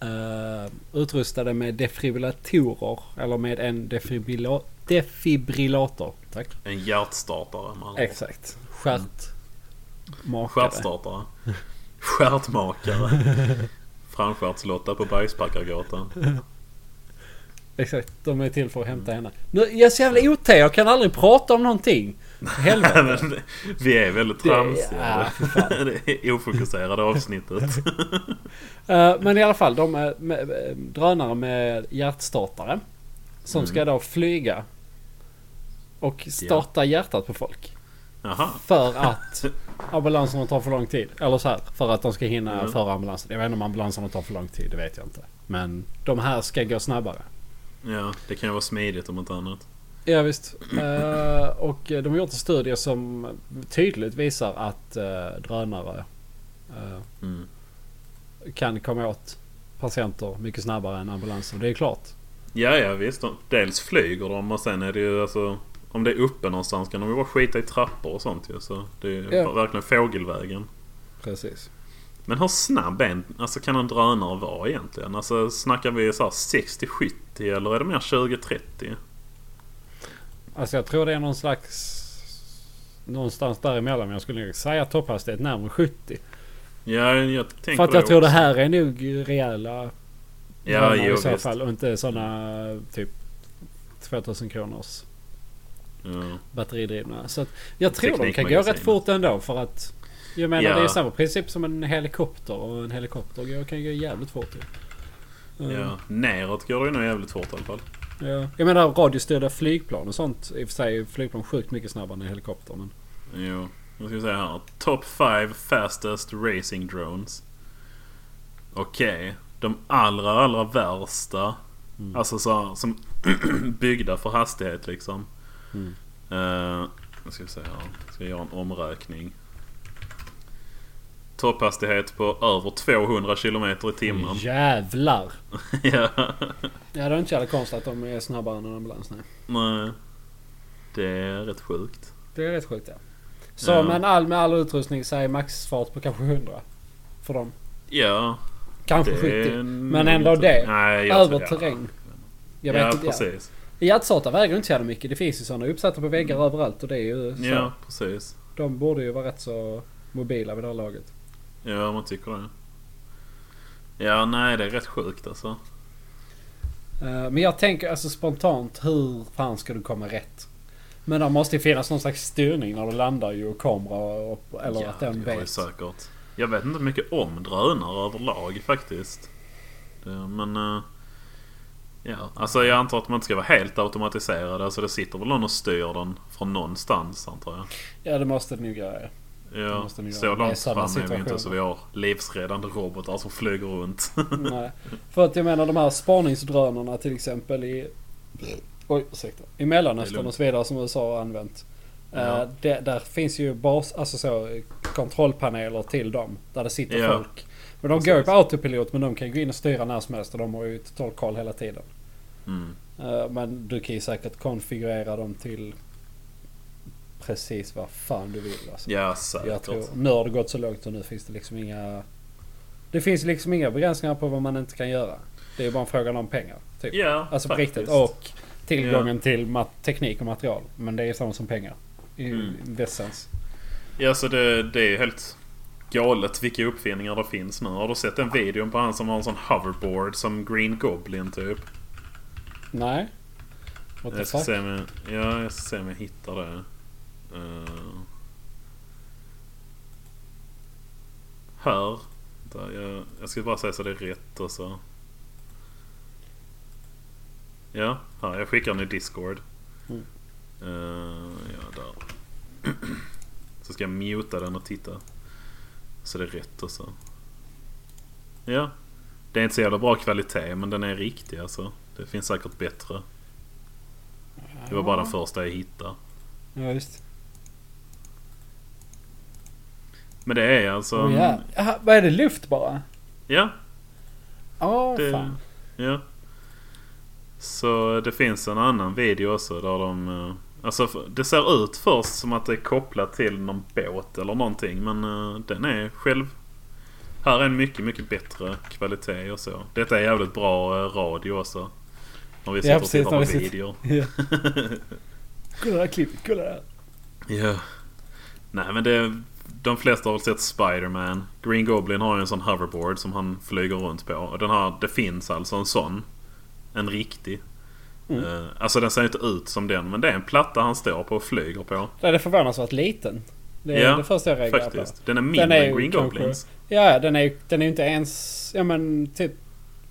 eh, utrustade med defibrillatorer eller med en defibrilla- defibrillator. Tack.
En hjärtstartare med andra ord.
Exakt. Stjärt. Makare.
Stjärtstartare. Stjärtmakare. Framskärtslotta på Bergspackargatan.
Exakt. De är till för att hämta henne. Nu, jag är så jävla OT. Jag kan aldrig prata om någonting. Helvete.
Men Vi är väldigt
Det-
tramsiga.
ja, fy
Det är ofokuserade avsnittet.
Eh, men i alla fall, de är med, med, drönare med hjärtstartare. Som ska då flyga. Och starta hjärtat på folk.
Jaha.
För att ambulanserna tar för lång tid. Eller så här, för att de ska hinna
Mm.
före ambulansen. Jag vet inte om ambulanserna tar för lång tid, det vet jag inte. Men de här ska gå snabbare.
Ja, det kan ju vara smidigt om inte annat.
Ja visst. Eh, och de har gjort en studie som tydligt visar att eh, drönare eh,
Mm.
kan komma åt patienter mycket snabbare än ambulanser. Det är klart.
Ja, ja visst. De- Dels flyger de och sen är det ju alltså... Om det är uppe någonstans kan de ju bara skita i trappor och sånt ju. Så det är ju
Ja.
verkligen fågelvägen.
Precis.
Men hur snabb är en, alltså kan en drönare vara egentligen? Alltså snackar vi så här 60-70 eller är det mer 20-30?
Alltså jag tror det är någon slags... Någonstans däremellan. Men jag skulle nog säga topphastighet närmare 70.
Ja, jag tänker
För att jag tror det
också.
här är nog rejäla
Ja,
drönare
jo,
i så
visst.
fall. Och inte sådana typ 2000 kronors Mm.
Ja.
batteridrivna. Så att jag tror de kan gå
Teknikmagasinet.
rätt fort ändå för att... Jag menar
Ja.
det är samma princip som en helikopter och en helikopter går- kan gå jävligt fort ju.
Ja. Neråt går det ju nog jävligt fort i alla fall.
Ja. Jag menar radiostyrda flygplan och sånt. I och för sig är flygplan sjukt mycket snabbare än en helikopter. Men...
Jo. Nu ska vi se här. Top 5 fastest racing drones. Okej. De allra, allra värsta.
Mm.
Alltså så här, som byggda för hastighet liksom.
Mm.
Eh, nu ska vi se här. Ska jag göra en omräkning. Topphastighet på över 200 km i timmen.
Jävlar!
ja.
Ja det är inte så jävla konstigt att de är snabbare än en ambulans. Nej.
Nej. Det är rätt sjukt.
Det är rätt sjukt ja. Så
Ja.
men all, med all utrustning så är maxfart på kanske 100. För dem.
Ja.
Kanske
det är
70. Men
nog
ändå
inte-
det.
Nej, jag
Över
tror- ja.
terräng. Jag
ja,
vet inte. ja.
precis.
Hjärtstartare väger inte så jävla mycket. Det finns ju sådana uppsatta på väggar överallt och det är ju så.
Mm. Ja, precis.
De borde ju vara rätt så mobila vid det här laget.
Ja, man tycker det. Ja, nej, det är rätt sjukt alltså.
Eh, Men jag tänker alltså spontant hur fan ska du komma rätt? Men det måste ju finnas någon slags styrning när du landar ju och kamera upp, eller
ja,
att den
det har ju
vet.
säkert. Jag vet inte mycket om drönare överlag faktiskt. Det- Men... eh, Ja, alltså jag antar att man inte ska vara helt automatiserad. Alltså det sitter väl någon och styr den från någonstans antar jag.
Ja det måste det nog göra. ja. Det
Ja,
måste ni
så
göra. Det är
långt
samma
fram är vi inte så
situation.
vi har livsräddande robotar som flyger runt.
Nej. För att jag menar de här spaningsdrönarna till exempel i... Oj, ursäkta. I
Det är
Mellanöstern
lugnt.
och så vidare som USA har använt. Eh,
Ja.
det, där finns ju bas, alltså så, eh, kontrollpaneler till dem. Där det sitter
Ja.
folk. Men de går ju på autopilot men de kan gå in och styra när som helst och de har ju total koll hela tiden.
Mm.
Eh, Men du kan ju säkert konfigurera dem till precis vad fan du vill. Alltså.
Ja, säkert.
Jag tror, nu har det gått så långt och nu finns det liksom inga... Det finns liksom inga begränsningar på vad man inte kan göra. Det är bara en fråga om pengar. Typ.
Ja,
alltså på
faktiskt.
riktigt. Och tillgången till mat- teknik och material. Men det är samma som pengar. I
Mm.
vässens.
Ja, så det, det är ju helt galet vilka uppfinningar det finns nu. Har du sett den videon på han som har en sån hoverboard som Green Goblin typ?
Nej. What the
Jag ska
fuck?
se om jag, ja, jag ska se om jag hittar det. Eh, här. Där, jag, jag ska bara säga så det är rätt och så. Ja, här, jag skickar den i Discord.
Mm.
Eh, ja, där. så ska jag muta den och titta. Så det är rätt och så. Ja. Det är inte så jävla bra kvalitet men den är riktig alltså. Det finns säkert bättre. Det var bara den första jag hittade.
Ja, just.
Men det är alltså...
Oh, ja. Aha, vad är det? Luft bara?
ja,
Åh,
Det-
fan.
Ja. Så det finns en annan video också där de... eh, Alltså f- det ser ut först som att det är kopplat till någon båt eller någonting men eh, den är själv... Här är en mycket, mycket bättre kvalitet och så. Detta är jävligt bra eh, radio också. När vi sitter och
precis,
tittar
när
på
vi sitter-
videor.
Ja. Kolla det här klippet, kolla det här.
Ja. Nej men det... De flesta har väl sett Spider-Man. Green Goblin har ju en sån hoverboard som han flyger runt på. Och den har, det finns alltså en sån. En riktig.
Mm.
Eh, alltså den ser inte ut som den men det är en platta han står på och flyger på.
Det är förvånansvärt liten. Det är
Ja,
det första jag reagerar på.
Faktiskt. Den är mindre
är ju
än Green
kanske-
Goblins.
Ja, den är ju den är ju inte ens... Ja men typ...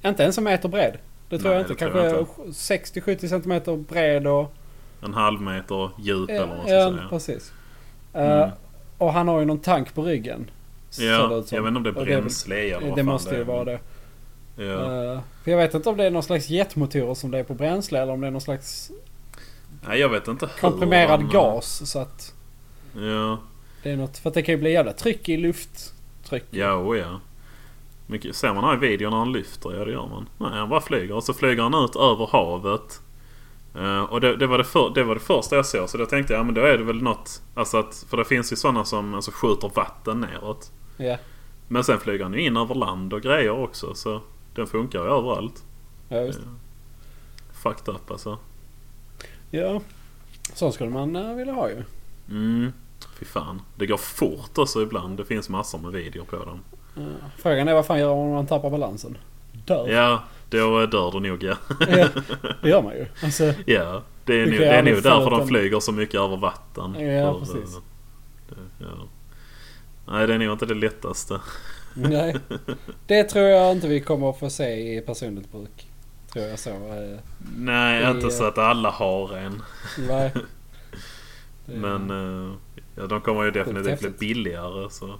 Inte ens en meter bred. Det tror
Nej,
jag inte.
det tror jag
Kanske 60-70 centimeter bred och...
En halv meter djup eller vad man ska
ja,
säga.
precis. Eh,
Mm.
och han har ju någon tank på ryggen.
Ja,
ser det ut som.
jag vet inte om det är
Och det är väl-
bränsle eller vad
Det
fan
måste ju
är.
vara det.
Ja.
Eh, för jag vet inte om det är någon slags jetmotorer som det är på bränsle eller om det är någon slags
Nej, jag vet inte hur
komprimerad
de-
gas. Så att
Ja.
det är något. För att det kan ju bli jävla tryck i lufttryck.
Ja, oh ja. Mycket, ser man här i videon när han lyfter? Ja, det gör man. Nej, han bara flyger. Och så flyger han ut över havet. Eh, och det, det, var det, för, det var det första jag såg. Så då tänkte jag, ja men då är det väl något. Alltså att, för det finns ju sådana som alltså, skjuter vatten neråt.
Ja,
Men sen flyger han ju in över land och grejer också. Så den funkar ju överallt.
ja, just.
Fucked up alltså.
ja. Sån skulle man eh, vilja ha ju.
Mm. Fy fan. Det går fort också ibland. Det finns massor med videor på dem.
Eh, frågan är vad fan gör man om man tappar balansen? Dör.
Ja, då dör du nog ja.
Ja, det gör man ju. Alltså,
Ja, det är
Det
nog,
kan jag
det är
aldrig
nog därför de
föreställa mig.
flyger så mycket över vatten.
Ja,
För,
precis.
eh, det- ja. Nej, det är nog inte det lättaste.
nej. Det tror jag inte vi kommer att få se i personligt bruk. Tror jag så. eh,
Nej,
Det-
inte så att alla har en.
Nej. Det-
Men eh, ja, de kommer ju definitivt bli
häftigt.
billigare. Så.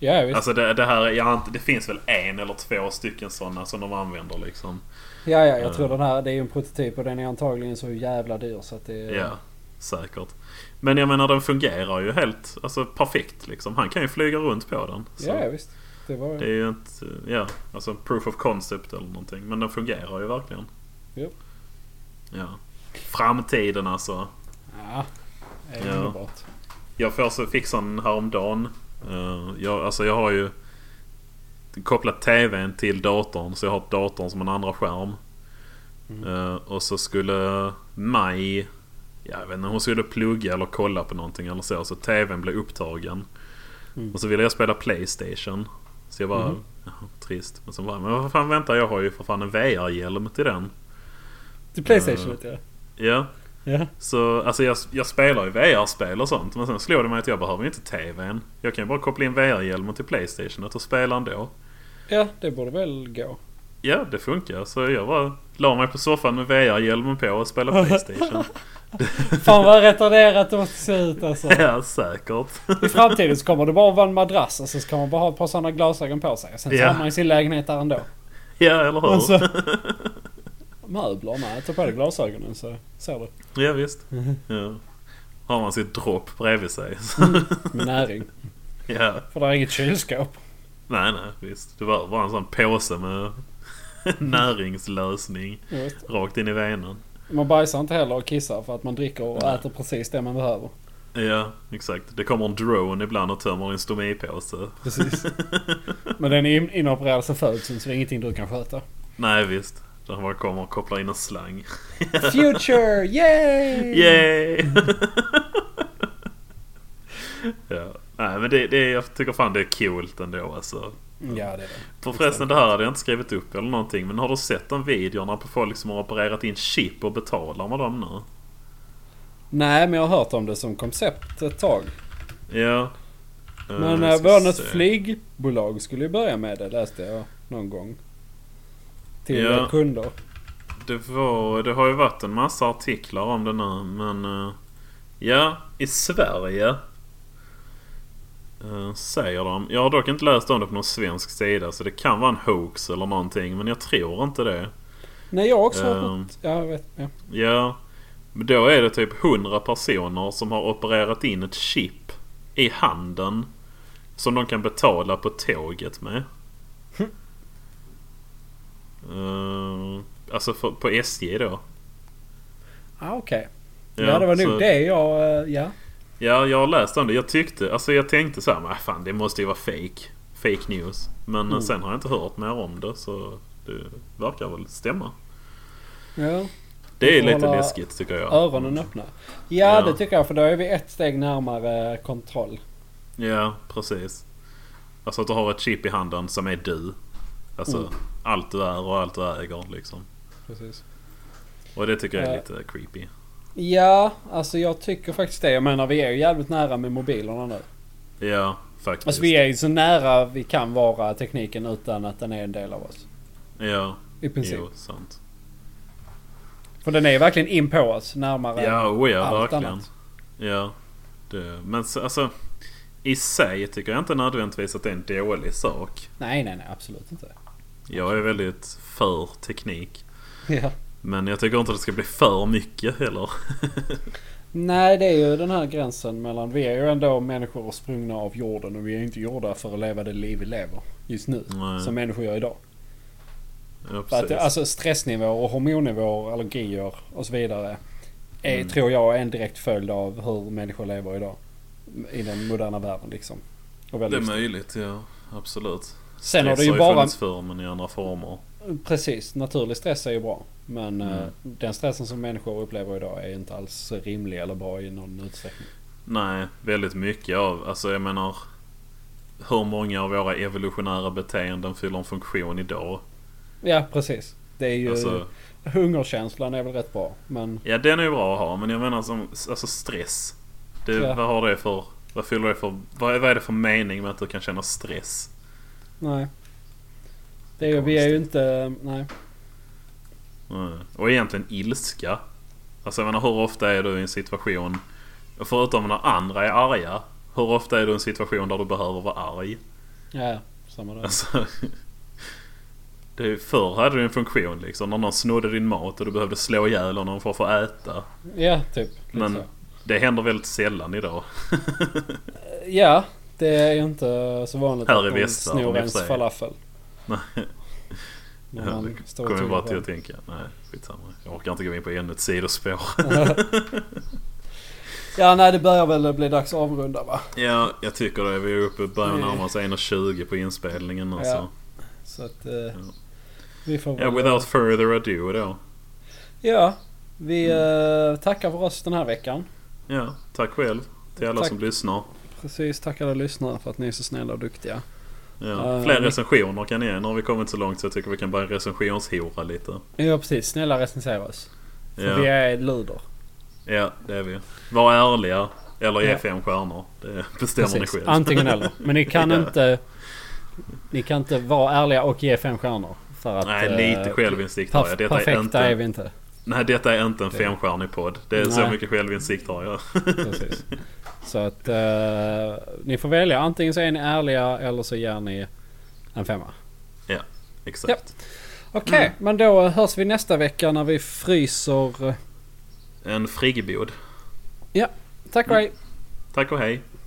Ja, visst.
Alltså det, det här, jag, har inte- det finns väl en eller två stycken sådana som de använder liksom.
ja, ja, jag
eh.
tror den här, det är ju en prototyp och den är antagligen så jävla dyr så att det...
Ja, säkert. Men jag menar den fungerar ju helt alltså, perfekt liksom. Han kan ju flyga runt på den. Så.
ja, ja, visst. Det var
Det är ju inte, ja, alltså proof of concept eller någonting. Men den fungerar ju verkligen.
Japp.
Ja. Framtiden alltså.
Ja. Det är
Ja.
underbart.
Jag får så fick sån häromdagen. Eh, jag, alltså jag har ju kopplat TVn till datorn så jag har datorn som en andra skärm.
Mm.
Eh, och så skulle Maj, jag vet inte, hon skulle plugga eller kolla på någonting eller så. Så TVn blev upptagen.
Mm.
Och så ville jag spela Playstation. Så jag bara,
Mhm.
"Jaha, trist. Men så bara, men vad fan vänta jag har ju för fan en VR-hjälm till den.
Till
Eh.
Playstation vet jag.
Ja.
Ja.
Så alltså jag, jag spelar ju VR-spel och sånt men sen slår det mig att jag behöver ju inte TVn. Jag kan ju bara koppla in VR-hjälmen till Playstation och spela ändå.
ja, det borde väl gå.
Ja, det funkar. Så jag bara la mig på soffan med VR-hjälmen på och spelade Playstation.
Fan vad retarderat det måste se ut alltså.
ja, säkert.
I framtiden så kommer det bara vara en madrass och så ska man bara ha ett par sådana glasögon på sig. Och sen så
Ja.
har man ju sin lägenhet där ändå.
ja, eller hur?
Alltså. Möbler? Nej, ta på dig glasögonen så ser du.
Ja, visst. Ja. Har man sitt dropp bredvid sig.
Med näring.
ja.
För det är inget kylskåp.
Nej, nej, visst. Det var bara en sån påse med näringslösning
Ja, visst.
rakt in i venan.
Man bajsar inte heller och kissar för att man dricker och
Nej.
äter precis det man behöver.
Ja, exakt. Det kommer en drone ibland och tömmer din stomipåse.
Precis. Men den är in- inopererad sen födseln så det är ingenting du kan sköta.
Nej visst. Där man kommer och kopplar in en slang.
Future! Yay!
Yay! ja. Nej men det, det, jag tycker fan det är coolt ändå alltså.
Ja, det är det.
För förresten det här hade jag inte skrivit upp eller någonting. Men har du sett de videorna på folk som har opererat in chip och betalar med dem nu?
Nej, men jag har hört om det som koncept ett tag.
Ja.
Men
Eh,
eh,
ska
var något
se.
flygbolag skulle ju börja med det läste jag någon gång. Till
Ja.
eh, kunder.
det, var, det har ju varit en massa artiklar om det nu men... eh, Ja, i Sverige. eh, Säger de. Jag har dock inte läst om det på någon svensk sida så det kan vara en hoax eller någonting men jag tror inte det.
Nej, jag har också hört
Ehm.
något. Ja, jag vet. Ja.
Ja. Men då är det typ 100 personer som har opererat in ett chip i handen. Som de kan betala på tåget med.
Hm.
Eh, alltså för, på SJ då.
Ah, okej. Ja, det var nog
så-
det jag... eh, Ja.
Ja, jag har läst om det. Jag tyckte, alltså jag tänkte så här, "Men fan det måste ju vara fake. Fake news. Men
Mm.
eh, sen har jag inte hört mer om det så det verkar väl stämma.
ja.
Det är
får
lite
hålla
läskigt tycker jag.
Öronen öppna. Ja,
Ja.
det tycker jag. För då är vi ett steg närmare kontroll.
Ja, precis. Alltså att du har ett chip i handen som är du. Alltså
Mm.
allt du är och allt du äger liksom.
Precis.
Och det tycker jag är
Ja.
lite creepy.
Ja, alltså jag tycker faktiskt det. Jag menar, vi är ju jävligt nära med mobilerna nu.
Ja, faktiskt.
Alltså vi är ju så nära vi kan vara tekniken utan att den är en del av oss.
Ja,
I princip.
jo, sant.
För den är ju verkligen in på oss. Närmare
Ja, oh ja,
allt
verkligen.
annat.
Ja. Det. Men så- alltså, i sig tycker jag inte nödvändigtvis att det är en dålig sak.
Nej, nej, nej. Absolut inte.
Jag är väldigt för teknik.
Ja.
Men jag tycker inte det ska bli för mycket heller.
Nej, det är ju den här gränsen mellan... Vi är ju ändå människor sprungna av jorden och vi är inte gjorda för att leva det liv vi lever just nu.
Nej.
Som människor gör idag.
Ja,
För att,
precis.
alltså stressnivåer, och hormonnivåer, allergier och så vidare. Är,
Mm.
Tror jag är en direkt följd av hur människor lever idag. I den moderna världen liksom. Och
det är
väldigt-
möjligt, ja. Absolut.
Sen har det
Stress
ju bara...
funnits förr men i andra former.
Precis, naturlig stress är ju bra. Men
Mm.
eh, den stressen som människor upplever idag är inte alls rimlig eller bra i någon utsträckning.
Nej, väldigt mycket av, alltså jag menar hur många av våra evolutionära beteenden fyller en funktion idag?
Ja, precis. Det är ju...
Alltså,
Hungerkänslan är väl rätt bra. Men
ja den är ju bra att ha men jag menar som, alltså stress. Det,
Ja.
Vad har det för, vad fyller det för, vad, är- vad är det för mening med att du kan känna stress?
nej. Det är, ju- vi är ju inte... Nej.
Mm. Och egentligen ilska. Alltså jag menar hur ofta är du i en situation, förutom när andra är arga, hur ofta är du i en situation där du behöver vara arg?
Ja, ja, samma där.
Alltså, det är, ju- förr hade du en funktion liksom. När någon snodde din mat och du behövde slå ihjäl honom för att få äta.
Ja, typ. lite
Men
så.
det händer väldigt sällan idag.
Ja, det är ju inte så vanligt
Här i
att de
västvärlden i och
snor
för
ens
sig.
falafel.
Nej,
När
det
man står och
kommer jag bara till
tuggar
att
på
tänka. Nej, skitsamma. Jag orkar inte gå in på ännu ett sidospår.
den. Ja, nej det börjar väl bli dags att avrunda va?
ja, jag tycker det. Vi är uppe börjar
Nej.
närma oss 1.20 på inspelningen.
Ja.
Alltså.
Så att... eh, Vi får
Ja.
väl...
without further ado då.
Ja, vi
Mm.
eh, tackar för oss den här veckan.
Ja, tack själv. Till alla
Tack.
som lyssnar.
Precis, tack alla lyssnare för att ni är så snälla och duktiga.
Ja.
Eh,
Fler
vi-
recensioner kan ni ge. Nu har vi kommit så långt så jag tycker vi kan börja recensionshora lite.
Ja, precis. Snälla recensera oss. För
Ja.
vi är luder.
Ja, det är vi. Var ärliga. Eller ge
Ja.
fem stjärnor. Det bestämmer ni själv.
Antingen eller. Men ni kan
Ja.
inte... Ni kan inte vara ärliga och ge fem stjärnor. För att...
Nej,
eh,
lite självinsikt har
Perf-
jag. Detta är
perfekta
inte,
är vi inte.
Nej, detta är inte en femstjärnig podd. Det är så
Nej.
mycket självinsikt har jag.
Precis. Så att eh, ni får välja. Antingen så är ni ärliga eller så ger ni en femma.
ja, exakt.
Okej, men då hörs vi nästa vecka när vi fryser.
En friggebod.
Ja, tack och hej.
Mm. Tack och hej.